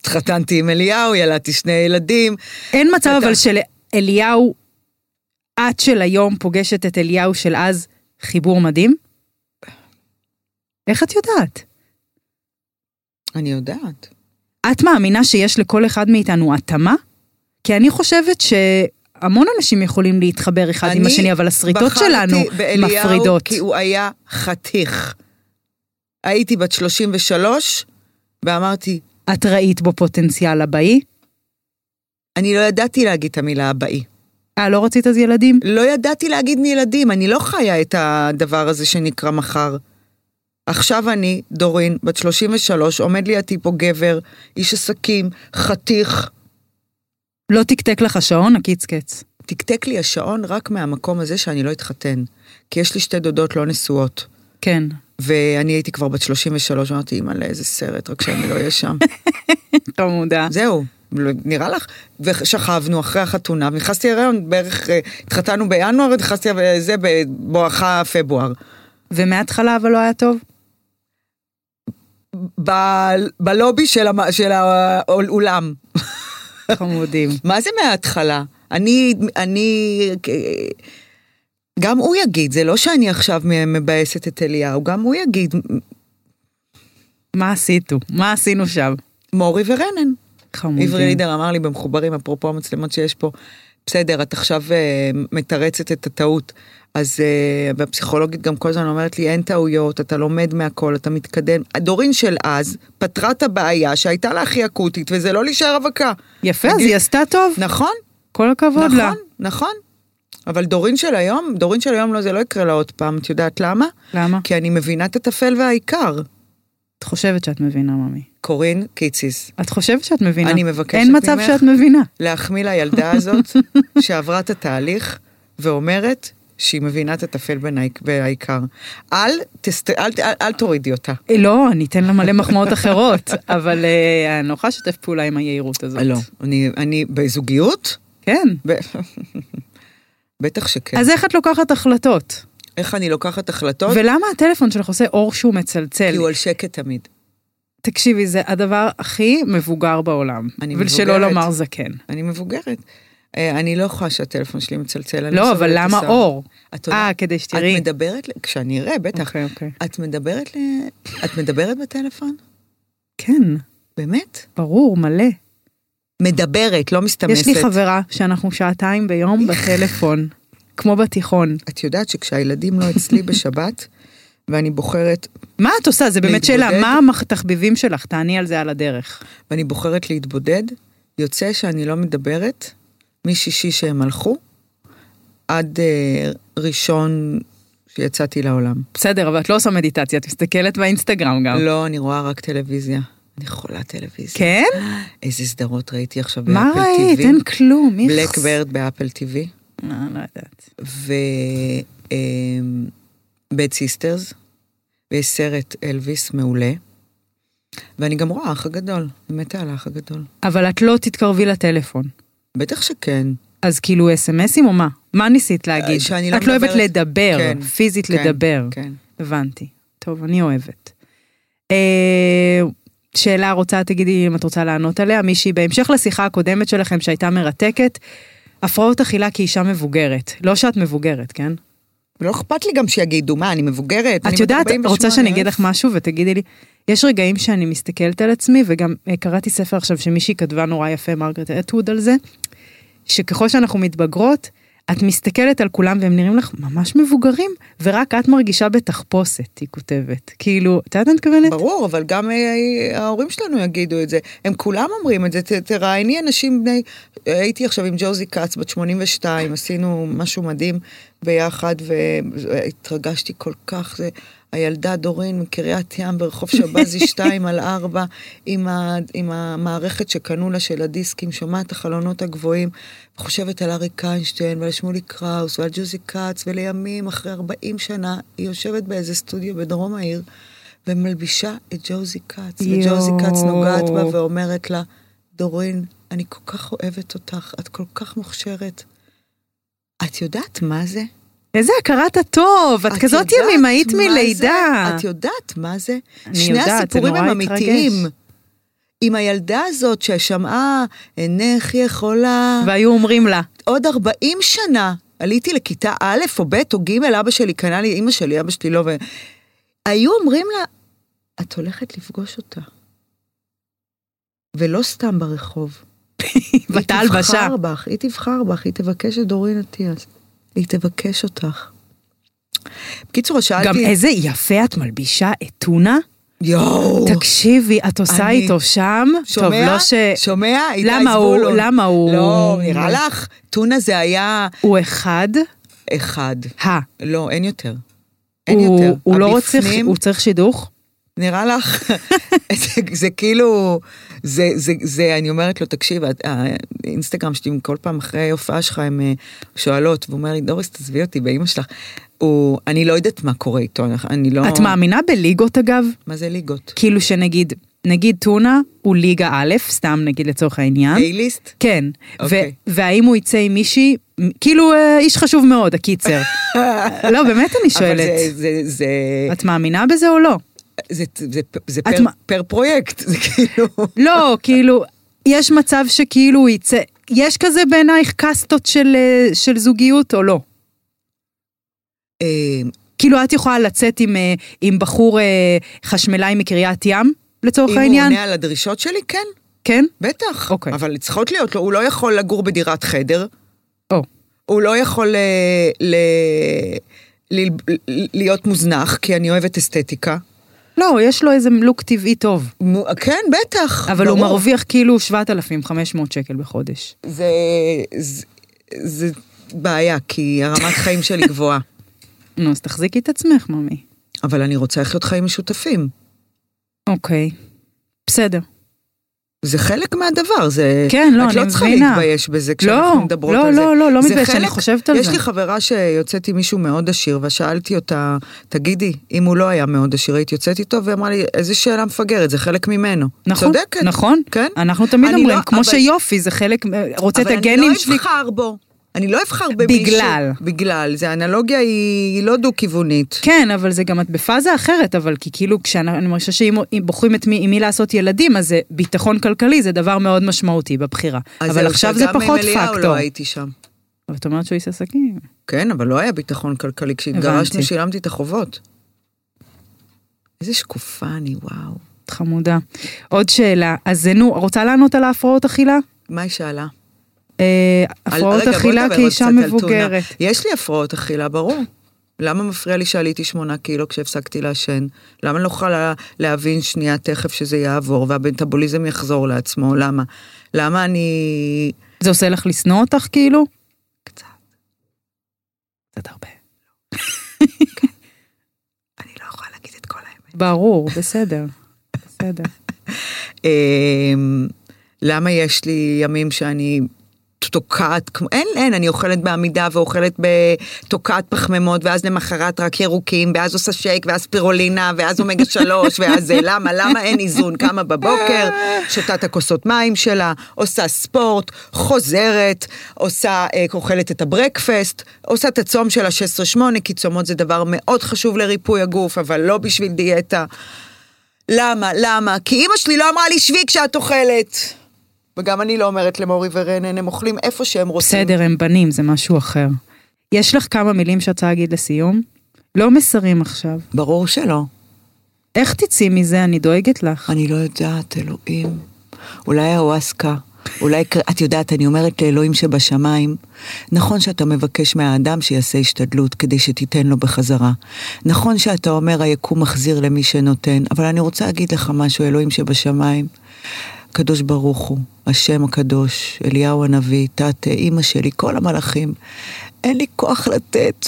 [SPEAKER 2] התחתנתי עם אליהו, ילדתי שני ילדים,
[SPEAKER 3] אין מצב
[SPEAKER 2] אתה-
[SPEAKER 3] אבל של אליהו, את של היום פוגשת את אליהו של אז, חיבור מדהים? איך את יודעת?
[SPEAKER 2] אני יודעת.
[SPEAKER 3] את מאמינה שיש לכל אחד מאיתנו התאמה? כי אני חושבת שהמון אנשים יכולים להתחבר אחד עם
[SPEAKER 2] אני
[SPEAKER 3] השני, אבל השריטות
[SPEAKER 2] בחרתי
[SPEAKER 3] שלנו
[SPEAKER 2] באליהו
[SPEAKER 3] מפרידות.
[SPEAKER 2] כי הוא היה חתיך. הייתי בת 33, ואמרתי,
[SPEAKER 3] את ראית בו פוטנציאל הבאי?
[SPEAKER 2] אני לא ידעתי להגיד את המילה הבאי.
[SPEAKER 3] אה, לא רצית אז ילדים?
[SPEAKER 2] לא ידעתי להגיד מילדים, אני לא חיה את הדבר הזה שנקרא מחר. עכשיו אני, דורין, בת 33, עומד לידי פה גבר, איש עסקים, חתיך.
[SPEAKER 3] לא תקתק לך שעון, הקיצקץ.
[SPEAKER 2] תקתק לי השעון רק מהמקום הזה שאני לא אתחתן. כי יש לי שתי דודות לא נשואות.
[SPEAKER 3] כן.
[SPEAKER 2] ואני הייתי כבר בת 33, אמרתי, אימא'לה, איזה סרט, רק שאני לא אהיה שם.
[SPEAKER 3] חמודה.
[SPEAKER 2] זהו, לא- נראה לך? ושכבנו אחרי החתונה, ונכנסתי להריון בערך, אה, התחתנו בינואר, נכנסתי אבל זה בואכה פברואר.
[SPEAKER 3] ומההתחלה אבל לא היה טוב?
[SPEAKER 2] ב- בלובי של, המ- של האולם.
[SPEAKER 3] חמודים.
[SPEAKER 2] מה זה מההתחלה? אני, אני, אה, גם הוא יגיד, זה לא שאני עכשיו מבאסת את אליהו, גם הוא יגיד,
[SPEAKER 3] מה עשיתו? מה עשינו שם?
[SPEAKER 2] מורי ורנן. עברי
[SPEAKER 3] חמודים.
[SPEAKER 2] לידר אמר לי במחוברים, אפרופו המצלמות שיש פה, בסדר, את עכשיו אה, מתרצת את הטעות. אז, אה, והפסיכולוגית גם כל הזמן אומרת לי, אין טעויות, אתה לומד מהכל, אתה מתקדם. הדורין של אז פתרה את הבעיה שהייתה לה הכי אקוטית, וזה לא להישאר רווקה.
[SPEAKER 3] יפה, אז היא עשתה טוב.
[SPEAKER 2] נכון,
[SPEAKER 3] כל הכבוד לה.
[SPEAKER 2] נכון, נכון. אבל דורין של היום, דורין של היום לא, זה לא יקרה לה עוד פעם, את יודעת למה?
[SPEAKER 3] למה?
[SPEAKER 2] כי אני מבינה את הטפל והעיקר.
[SPEAKER 3] את חושבת שאת מבינה, ממי.
[SPEAKER 2] קורין קיציס,
[SPEAKER 3] את חושבת שאת מבינה.
[SPEAKER 2] אני מבקשת
[SPEAKER 3] אין מצב
[SPEAKER 2] ממך-
[SPEAKER 3] שאת מבינה.
[SPEAKER 2] להחמיא לילדה הזאת שעברה את התהליך ואומרת שהיא מבינה את הטפל בנאי- והעיקר. אל, תסת... אל, אל, אל תורידי אותה.
[SPEAKER 3] אה, לא, אני אתן לה מלא מחמאות אחרות, אבל אה, אני לא יכולה לשתף פעולה עם היהירות הזאת.
[SPEAKER 2] לא, אני, אני בזוגיות?
[SPEAKER 3] כן.
[SPEAKER 2] ב... בטח שכן. אז...
[SPEAKER 3] אז איך את לוקחת החלטות?
[SPEAKER 2] איך אני לוקחת החלטות?
[SPEAKER 3] ולמה הטלפון שלך עושה אור שהוא מצלצל?
[SPEAKER 2] כי הוא על שקט תמיד.
[SPEAKER 3] תקשיבי, זה הדבר הכי מבוגר בעולם.
[SPEAKER 2] אני
[SPEAKER 3] ולשלא
[SPEAKER 2] מבוגרת.
[SPEAKER 3] לומר כן. זקן.
[SPEAKER 2] אני מבוגרת. אה, אני לא יכולה שהטלפון שלי מצלצל. אני
[SPEAKER 3] לא, אבל
[SPEAKER 2] סובלת
[SPEAKER 3] למה
[SPEAKER 2] הסאונד.
[SPEAKER 3] אור?
[SPEAKER 2] את
[SPEAKER 3] אה,
[SPEAKER 2] יודעת,
[SPEAKER 3] כדי
[SPEAKER 2] את
[SPEAKER 3] שתראי.
[SPEAKER 2] מדברת, ל- כשאני אראה, בטח.
[SPEAKER 3] אוקיי, אוקיי.
[SPEAKER 2] את מדברת ל... את מדברת בטלפון?
[SPEAKER 3] כן,
[SPEAKER 2] באמת?
[SPEAKER 3] ברור, מלא.
[SPEAKER 2] מדברת, לא מסתמסת.
[SPEAKER 3] יש לי חברה שאנחנו שעתיים ביום בטלפון, כמו בתיכון.
[SPEAKER 2] את יודעת שכשהילדים לא אצלי בשבת, ואני בוחרת,
[SPEAKER 3] מה את עושה? זה באמת שאלה,
[SPEAKER 2] להתמודד.
[SPEAKER 3] מה המח- התחביבים שלך? תעני על זה על הדרך.
[SPEAKER 2] ואני בוחרת להתבודד, יוצא שאני לא מדברת משישי שהם הלכו, עד אה, ראשון שיצאתי לעולם.
[SPEAKER 3] בסדר, אבל את לא עושה מדיטציה, את מסתכלת באינסטגרם גם.
[SPEAKER 2] לא, אני רואה רק טלוויזיה. אני חולה טלוויזיה.
[SPEAKER 3] אה. כן?
[SPEAKER 2] איזה סדרות ראיתי עכשיו באפל
[SPEAKER 3] מה
[SPEAKER 2] TV.
[SPEAKER 3] ראית? אין כלום, מיכס.
[SPEAKER 2] בלק ברד באפל TV,
[SPEAKER 3] אה, לא יודעת.
[SPEAKER 2] ובד סיסטרס, אמ, ויש סרט אלוויס מעולה. ואני גם רואה אח הגדול, אני מתה על האח הגדול.
[SPEAKER 3] אבל את לא תתקרבי לטלפון.
[SPEAKER 2] בטח שכן.
[SPEAKER 3] אז כאילו אס.אם.אסים או מה? מה ניסית להגיד?
[SPEAKER 2] שאני לא
[SPEAKER 3] את לא אוהבת
[SPEAKER 2] מדברת.
[SPEAKER 3] לדבר,
[SPEAKER 2] כן,
[SPEAKER 3] פיזית
[SPEAKER 2] כן,
[SPEAKER 3] לדבר.
[SPEAKER 2] כן.
[SPEAKER 3] הבנתי. טוב, אני אוהבת. אה, שאלה רוצה, תגידי אם את רוצה לענות עליה, מישהי בהמשך לשיחה הקודמת שלכם שהייתה מרתקת, הפרעות אכילה כאישה מבוגרת. לא שאת מבוגרת, כן?
[SPEAKER 2] לא אכפת לי גם שיגידו, מה, אני מבוגרת?
[SPEAKER 3] את
[SPEAKER 2] אני בת
[SPEAKER 3] יודעת,
[SPEAKER 2] 48,
[SPEAKER 3] רוצה שאני אגיד לך משהו ותגידי לי, יש רגעים שאני מסתכלת על עצמי, וגם אה, קראתי ספר עכשיו שמישהי כתבה נורא יפה, מרגרט אטווד על זה, שככל שאנחנו מתבגרות, את מסתכלת על כולם והם נראים לך ממש מבוגרים, ורק את מרגישה בתחפושת, היא כותבת. כאילו, את יודעת מה אני מתכוונת?
[SPEAKER 2] ברור, אבל גם אה, אה, ההורים שלנו יגידו את זה. הם כולם אומרים את זה, ת- תראייני אנשים בני... הייתי עכשיו עם ג'וזי כץ, בת 82, עשינו משהו מדהים ביחד, והתרגשתי כל כך. זה... הילדה דורין מקריית ים ברחוב שבזי 2 על 4, עם, ה, עם המערכת שקנו לה של הדיסקים, שומעת את החלונות הגבוהים, חושבת על אריק איינשטיין ועל שמולי קראוס ועל ג'וזי כץ, ולימים, אחרי 40 שנה, היא יושבת באיזה סטודיו בדרום העיר, ומלבישה את ג'וזי כץ,
[SPEAKER 3] יואו.
[SPEAKER 2] וג'וזי כץ נוגעת בה ואומרת לה, דורין, אני כל כך אוהבת אותך, את כל כך מוכשרת. את יודעת מה זה?
[SPEAKER 3] איזה הכרת הטוב, את כזאת
[SPEAKER 2] יודעת
[SPEAKER 3] ימימאית
[SPEAKER 2] מה
[SPEAKER 3] מלידה.
[SPEAKER 2] זה? את יודעת מה זה?
[SPEAKER 3] אני
[SPEAKER 2] שני
[SPEAKER 3] יודעת, זה
[SPEAKER 2] הסיפורים
[SPEAKER 3] נורא
[SPEAKER 2] הם
[SPEAKER 3] התרגש.
[SPEAKER 2] אמיתיים. עם הילדה הזאת ששמעה, אינך יכולה.
[SPEAKER 3] והיו אומרים לה,
[SPEAKER 2] עוד 40 שנה עליתי לכיתה א' או ב' או ג', אבא שלי קנה לי, אימא שלי, אבא שלי לא, ו... היו אומרים לה, את הולכת לפגוש אותה. ולא סתם ברחוב.
[SPEAKER 3] בתא
[SPEAKER 2] היא
[SPEAKER 3] הלבשה.
[SPEAKER 2] תבחר בך, היא תבחר בך, היא תבקש את דורין אטיאס. היא תבקש אותך. בקיצור, אז שאלתי...
[SPEAKER 3] גם איזה יפה את מלבישה את טונה.
[SPEAKER 2] יואו!
[SPEAKER 3] תקשיבי, את עושה
[SPEAKER 2] אני-
[SPEAKER 3] איתו שם, טוב,
[SPEAKER 2] שומע?
[SPEAKER 3] לא ש...
[SPEAKER 2] שומע? איתי
[SPEAKER 3] למה הוא-
[SPEAKER 2] זבולון.
[SPEAKER 3] למה הוא-
[SPEAKER 2] לא, נראה לך? טונה זה היה
[SPEAKER 3] הוא אחד,
[SPEAKER 2] אחד.
[SPEAKER 3] ה.
[SPEAKER 2] לא, אין יותר. אין
[SPEAKER 3] הוא,
[SPEAKER 2] יותר.
[SPEAKER 3] הוא לא רוצה,
[SPEAKER 2] הבפנים-
[SPEAKER 3] הוא צריך שידוך?
[SPEAKER 2] נראה לך, זה, זה כאילו, זה, זה, זה, אני אומרת לו, תקשיב, את- האינסטגרם שלי, כל פעם אחרי הופעה שלך, הם אה, שואלות, והוא אומר לי, דוריס, תעזבי אותי, באמא שלך. הוא, אני לא יודעת מה קורה איתו, אני לא...
[SPEAKER 3] את מאמינה בליגות אגב?
[SPEAKER 2] מה זה ליגות?
[SPEAKER 3] כאילו שנגיד, נגיד טונה הוא ליגה א', סתם נגיד לצורך העניין.
[SPEAKER 2] פלייליסט?
[SPEAKER 3] כן,
[SPEAKER 2] אוקיי.
[SPEAKER 3] ו- והאם הוא יצא עם מישהי, מ- כאילו אה, איש חשוב מאוד, הקיצר. לא, באמת אני שואלת,
[SPEAKER 2] אבל זה, זה, זה,
[SPEAKER 3] את מאמינה בזה או לא?
[SPEAKER 2] זה, זה, זה, זה
[SPEAKER 3] את
[SPEAKER 2] פר,
[SPEAKER 3] מה-
[SPEAKER 2] פר פרויקט, זה כאילו...
[SPEAKER 3] לא, כאילו, יש מצב שכאילו הוא יצא, יש כזה בעינייך קאסטות של, אה, של זוגיות או לא?
[SPEAKER 2] אה,
[SPEAKER 3] כאילו את יכולה לצאת עם, אה, עם בחור אה, חשמלאי מקריית ים, לצורך
[SPEAKER 2] אם הוא
[SPEAKER 3] העניין?
[SPEAKER 2] עונה על הדרישות שלי, כן,
[SPEAKER 3] כן?
[SPEAKER 2] בטח.
[SPEAKER 3] אוקיי.
[SPEAKER 2] אבל צריכות להיות לו, הוא לא יכול לגור בדירת חדר.
[SPEAKER 3] או.
[SPEAKER 2] הוא לא יכול אה, ל... ל... ל... להיות מוזנח, כי אני אוהבת אסתטיקה.
[SPEAKER 3] לא, יש לו איזה לוק טבעי טוב.
[SPEAKER 2] מ- כן, בטח.
[SPEAKER 3] אבל הוא
[SPEAKER 2] ברור.
[SPEAKER 3] מרוויח כאילו 7,500 שקל בחודש.
[SPEAKER 2] זה, זה, זה בעיה, כי הרמת חיים שלי גבוהה.
[SPEAKER 3] נו, אז תחזיקי את עצמך, ממי.
[SPEAKER 2] אבל אני רוצה לחיות חיים משותפים.
[SPEAKER 3] אוקיי. בסדר.
[SPEAKER 2] זה חלק מהדבר, זה...
[SPEAKER 3] כן, לא,
[SPEAKER 2] את לא
[SPEAKER 3] אני
[SPEAKER 2] צריכה
[SPEAKER 3] מבינה.
[SPEAKER 2] להתבייש בזה כשאנחנו
[SPEAKER 3] לא,
[SPEAKER 2] מדברות
[SPEAKER 3] לא,
[SPEAKER 2] על זה.
[SPEAKER 3] לא, לא, לא
[SPEAKER 2] זה
[SPEAKER 3] מתביישת, אני
[SPEAKER 2] חלק-
[SPEAKER 3] חושבת על
[SPEAKER 2] יש
[SPEAKER 3] זה.
[SPEAKER 2] לי חברה שיוצאת עם מישהו מאוד עשיר, ושאלתי אותה, תגידי, אם הוא לא היה מאוד עשיר, היית יוצאת איתו? והיא אמרה לי, איזה שאלה מפגרת, זה חלק ממנו.
[SPEAKER 3] נכון,
[SPEAKER 2] צודקת.
[SPEAKER 3] נכון.
[SPEAKER 2] כן.
[SPEAKER 3] אנחנו תמיד
[SPEAKER 2] אני
[SPEAKER 3] אומרים,
[SPEAKER 2] לא-
[SPEAKER 3] כמו
[SPEAKER 2] אבל-
[SPEAKER 3] שיופי זה חלק, אה, רוצה את
[SPEAKER 2] אבל
[SPEAKER 3] הגנים
[SPEAKER 2] אני
[SPEAKER 3] שלי.
[SPEAKER 2] לא אבחר בו. אני לא אבחר במישהו.
[SPEAKER 3] בגלל.
[SPEAKER 2] בגלל, זה האנלוגיה היא היא לא דו-כיוונית.
[SPEAKER 3] כן, אבל זה גם את בפאזה אחרת, אבל כי כאילו כשאני אני מרגישה שאם אם בוחרים את מי, עם מי לעשות ילדים, אז זה ביטחון כלכלי, זה דבר מאוד משמעותי בבחירה.
[SPEAKER 2] אז
[SPEAKER 3] אבל
[SPEAKER 2] זהו,
[SPEAKER 3] עכשיו זה
[SPEAKER 2] שגם עם
[SPEAKER 3] פחות
[SPEAKER 2] אליהו
[SPEAKER 3] פקטור.
[SPEAKER 2] לא הייתי שם.
[SPEAKER 3] אבל את אומרת שהוא איש עסקים.
[SPEAKER 2] כן, אבל לא היה ביטחון כלכלי. כשהתגרשנו
[SPEAKER 3] הבנתי.
[SPEAKER 2] שילמתי את החובות. איזה שקופה אני, וואו.
[SPEAKER 3] את חמודה. עוד שאלה, אז זה, נו, רוצה לענות על ההפרעות אכילה?
[SPEAKER 2] מה היא שאלה?
[SPEAKER 3] אה,
[SPEAKER 2] על-
[SPEAKER 3] הפרעות
[SPEAKER 2] רגע, בואי
[SPEAKER 3] אכילה
[SPEAKER 2] נדבר
[SPEAKER 3] כאישה
[SPEAKER 2] עוד קצת על
[SPEAKER 3] מבוגרת.
[SPEAKER 2] תונה. יש לי הפרעות אכילה, ברור. למה מפריע לי שעליתי שמונה קילו כשהפסקתי לעשן? למה אני לא יכולה להבין שנייה תכף שזה יעבור והמטאבוליזם יחזור לעצמו? למה? למה אני...
[SPEAKER 3] זה עושה לך לשנוא אותך כאילו?
[SPEAKER 2] קצת.
[SPEAKER 3] קצת הרבה.
[SPEAKER 2] אני לא יכולה להגיד את כל האמת.
[SPEAKER 3] ברור, בסדר. בסדר.
[SPEAKER 2] אמ, למה יש לי ימים שאני תוקעת, כמו- אין, אין, אני אוכלת בעמידה ואוכלת בתוקעת פחמימות, ואז למחרת רק ירוקים, ואז עושה שייק, ואז פירולינה, ואז אומגה שלוש, ואז זה, למה, למה אין איזון? קמה בבוקר, שותה את הכוסות מים שלה, עושה ספורט, חוזרת, עושה, אה, אוכלת את הברקפסט, עושה את הצום של ה-16-8, כי צומות זה דבר מאוד חשוב לריפוי הגוף, אבל לא בשביל דיאטה. למה? למה? כי אימא שלי לא אמרה לי שבי כשאת אוכלת. וגם אני לא אומרת למורי ורנן, הם אוכלים איפה שהם רוצים.
[SPEAKER 3] בסדר, הם בנים, זה משהו אחר. יש לך כמה מילים שאת רוצה להגיד לסיום? לא מסרים עכשיו.
[SPEAKER 2] ברור שלא.
[SPEAKER 3] איך תצאי מזה? אני דואגת לך.
[SPEAKER 2] אני לא יודעת, אלוהים. אולי האווסקה. אולי, את יודעת, אני אומרת לאלוהים שבשמיים, נכון שאתה מבקש מהאדם שיעשה השתדלות כדי שתיתן לו בחזרה. נכון שאתה אומר, היקום מחזיר למי שנותן, אבל אני רוצה להגיד לך משהו, אלוהים שבשמיים. הקדוש ברוך הוא, השם הקדוש, אליהו הנביא, תתה, אימא שלי, כל המלאכים. אין לי כוח לתת.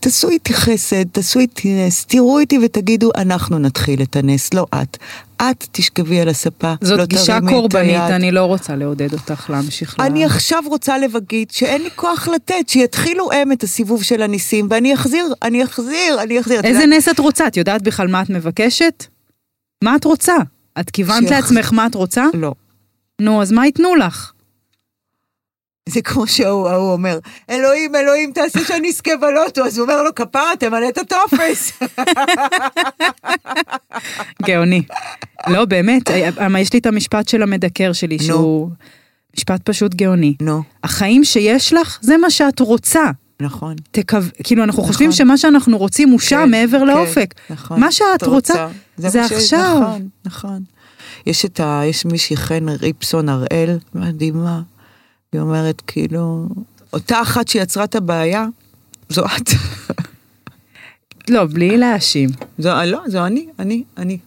[SPEAKER 2] תעשו איתי חסד, תעשו איתי נס, תראו איתי ותגידו, אנחנו נתחיל את הנס, לא את. את תשכבי על הספה,
[SPEAKER 3] זאת
[SPEAKER 2] לא
[SPEAKER 3] גישה
[SPEAKER 2] תרימי את
[SPEAKER 3] קורבנית,
[SPEAKER 2] היד.
[SPEAKER 3] אני לא רוצה לעודד אותך להמשיך. ל-
[SPEAKER 2] אני עכשיו רוצה להגיד שאין לי כוח לתת, שיתחילו הם את הסיבוב של הניסים, ואני אחזיר, אני אחזיר, אני אחזיר. את
[SPEAKER 3] איזה
[SPEAKER 2] יודעת,
[SPEAKER 3] נס את רוצה? את יודעת בכלל מה את מבקשת? מה את רוצה? את כיוונת
[SPEAKER 2] שיח-
[SPEAKER 3] לעצמך מה את רוצה?
[SPEAKER 2] לא.
[SPEAKER 3] נו, אז מה ייתנו לך?
[SPEAKER 2] זה כמו שההוא ההוא אומר, אלוהים, אלוהים, תעשה שאני אזכה בלוטו, אז הוא אומר לו, כפרה, תמלא את הטופס.
[SPEAKER 3] גאוני. לא, באמת, אה, אה, יש לי את המשפט של המדקר שלי, שהוא משפט פשוט גאוני.
[SPEAKER 2] נו,
[SPEAKER 3] החיים שיש לך, זה מה שאת רוצה.
[SPEAKER 2] נכון.
[SPEAKER 3] תקו... כאילו, אנחנו חושבים
[SPEAKER 2] נכון.
[SPEAKER 3] שמה שאנחנו רוצים הוא שם מעבר
[SPEAKER 2] כן,
[SPEAKER 3] לאופק.
[SPEAKER 2] נכון.
[SPEAKER 3] מה שאת
[SPEAKER 2] את
[SPEAKER 3] רוצה, זה
[SPEAKER 2] מה ש-
[SPEAKER 3] עכשיו.
[SPEAKER 2] נכון, נכון. יש את ה... יש מישהי חן ריפסון הראל, מדהימה. היא אומרת, כאילו, אותה אחת שיצרה את הבעיה, זו את.
[SPEAKER 3] לא, בלי להאשים.
[SPEAKER 2] זו, לא, זו אני, אני, אני.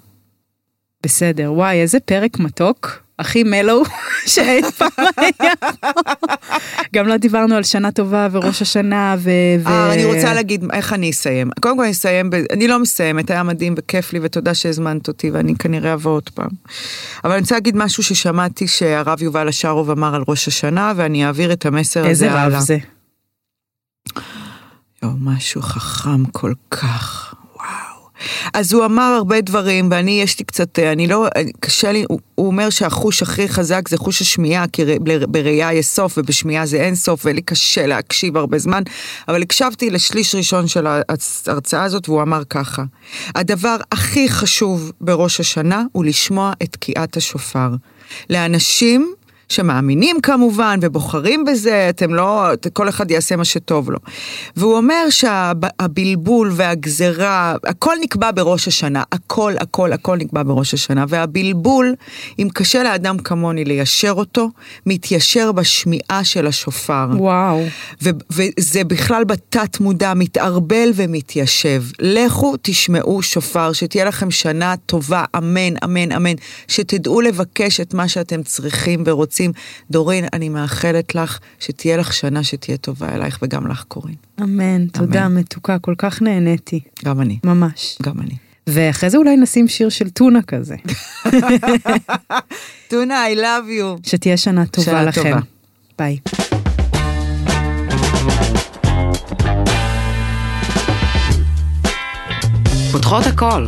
[SPEAKER 3] בסדר, וואי, איזה פרק מתוק. הכי מלו שאי פעם היה. גם לא דיברנו על שנה טובה וראש השנה ו... ו-
[SPEAKER 2] אה, אני רוצה להגיד איך אני אסיים. קודם כל אני אסיים, ב... אני לא מסיימת, היה מדהים וכיף לי ותודה שהזמנת אותי ואני כנראה אבוא עוד פעם. אבל אני רוצה להגיד משהו ששמעתי שהרב יובל אשרוב אמר על ראש השנה ואני אעביר את המסר הזה
[SPEAKER 3] איזה
[SPEAKER 2] הלאה.
[SPEAKER 3] רב זה.
[SPEAKER 2] או משהו חכם כל כך, וואו. אז הוא אמר הרבה דברים, ואני, יש לי קצת, אה, אני לא, אה, קשה לי, הוא, הוא אומר שהחוש הכי חזק זה חוש השמיעה, כי ר- ל- בראייה יש סוף ובשמיעה זה אין סוף, ולי קשה להקשיב הרבה זמן, אבל הקשבתי לשליש ראשון של ההרצאה הזאת, והוא אמר ככה, הדבר הכי חשוב בראש השנה הוא לשמוע את תקיעת השופר. לאנשים שמאמינים כמובן ובוחרים בזה, אתם לא, את- כל אחד יעשה מה שטוב לו. והוא אומר שהבלבול והגזרה, הכל נקבע בראש השנה, הכל, הכל, הכל נקבע בראש השנה, והבלבול, אם קשה לאדם כמוני ליישר אותו, מתיישר בשמיעה של השופר.
[SPEAKER 3] וואו.
[SPEAKER 2] ו- וזה בכלל בתת מודע, מתערבל ומתיישב. לכו תשמעו שופר, שתהיה לכם שנה טובה, אמן, אמן, אמן, שתדעו לבקש את מה שאתם צריכים ורוצים. דורין, אני מאחלת לך שתהיה לך שנה שתהיה טובה אלייך, וגם לך קורין.
[SPEAKER 3] אמן, תודה, מתוקה, כל כך נהניתי,
[SPEAKER 2] גם אני,
[SPEAKER 3] ממש.
[SPEAKER 2] גם אני.
[SPEAKER 3] ואחרי זה אולי נשים שיר של טונה כזה,
[SPEAKER 2] טונה, I love you.
[SPEAKER 3] שתהיה שנה טובה
[SPEAKER 2] שנה
[SPEAKER 3] לכם.
[SPEAKER 2] טובה.
[SPEAKER 3] ביי.
[SPEAKER 1] פותחות הכל.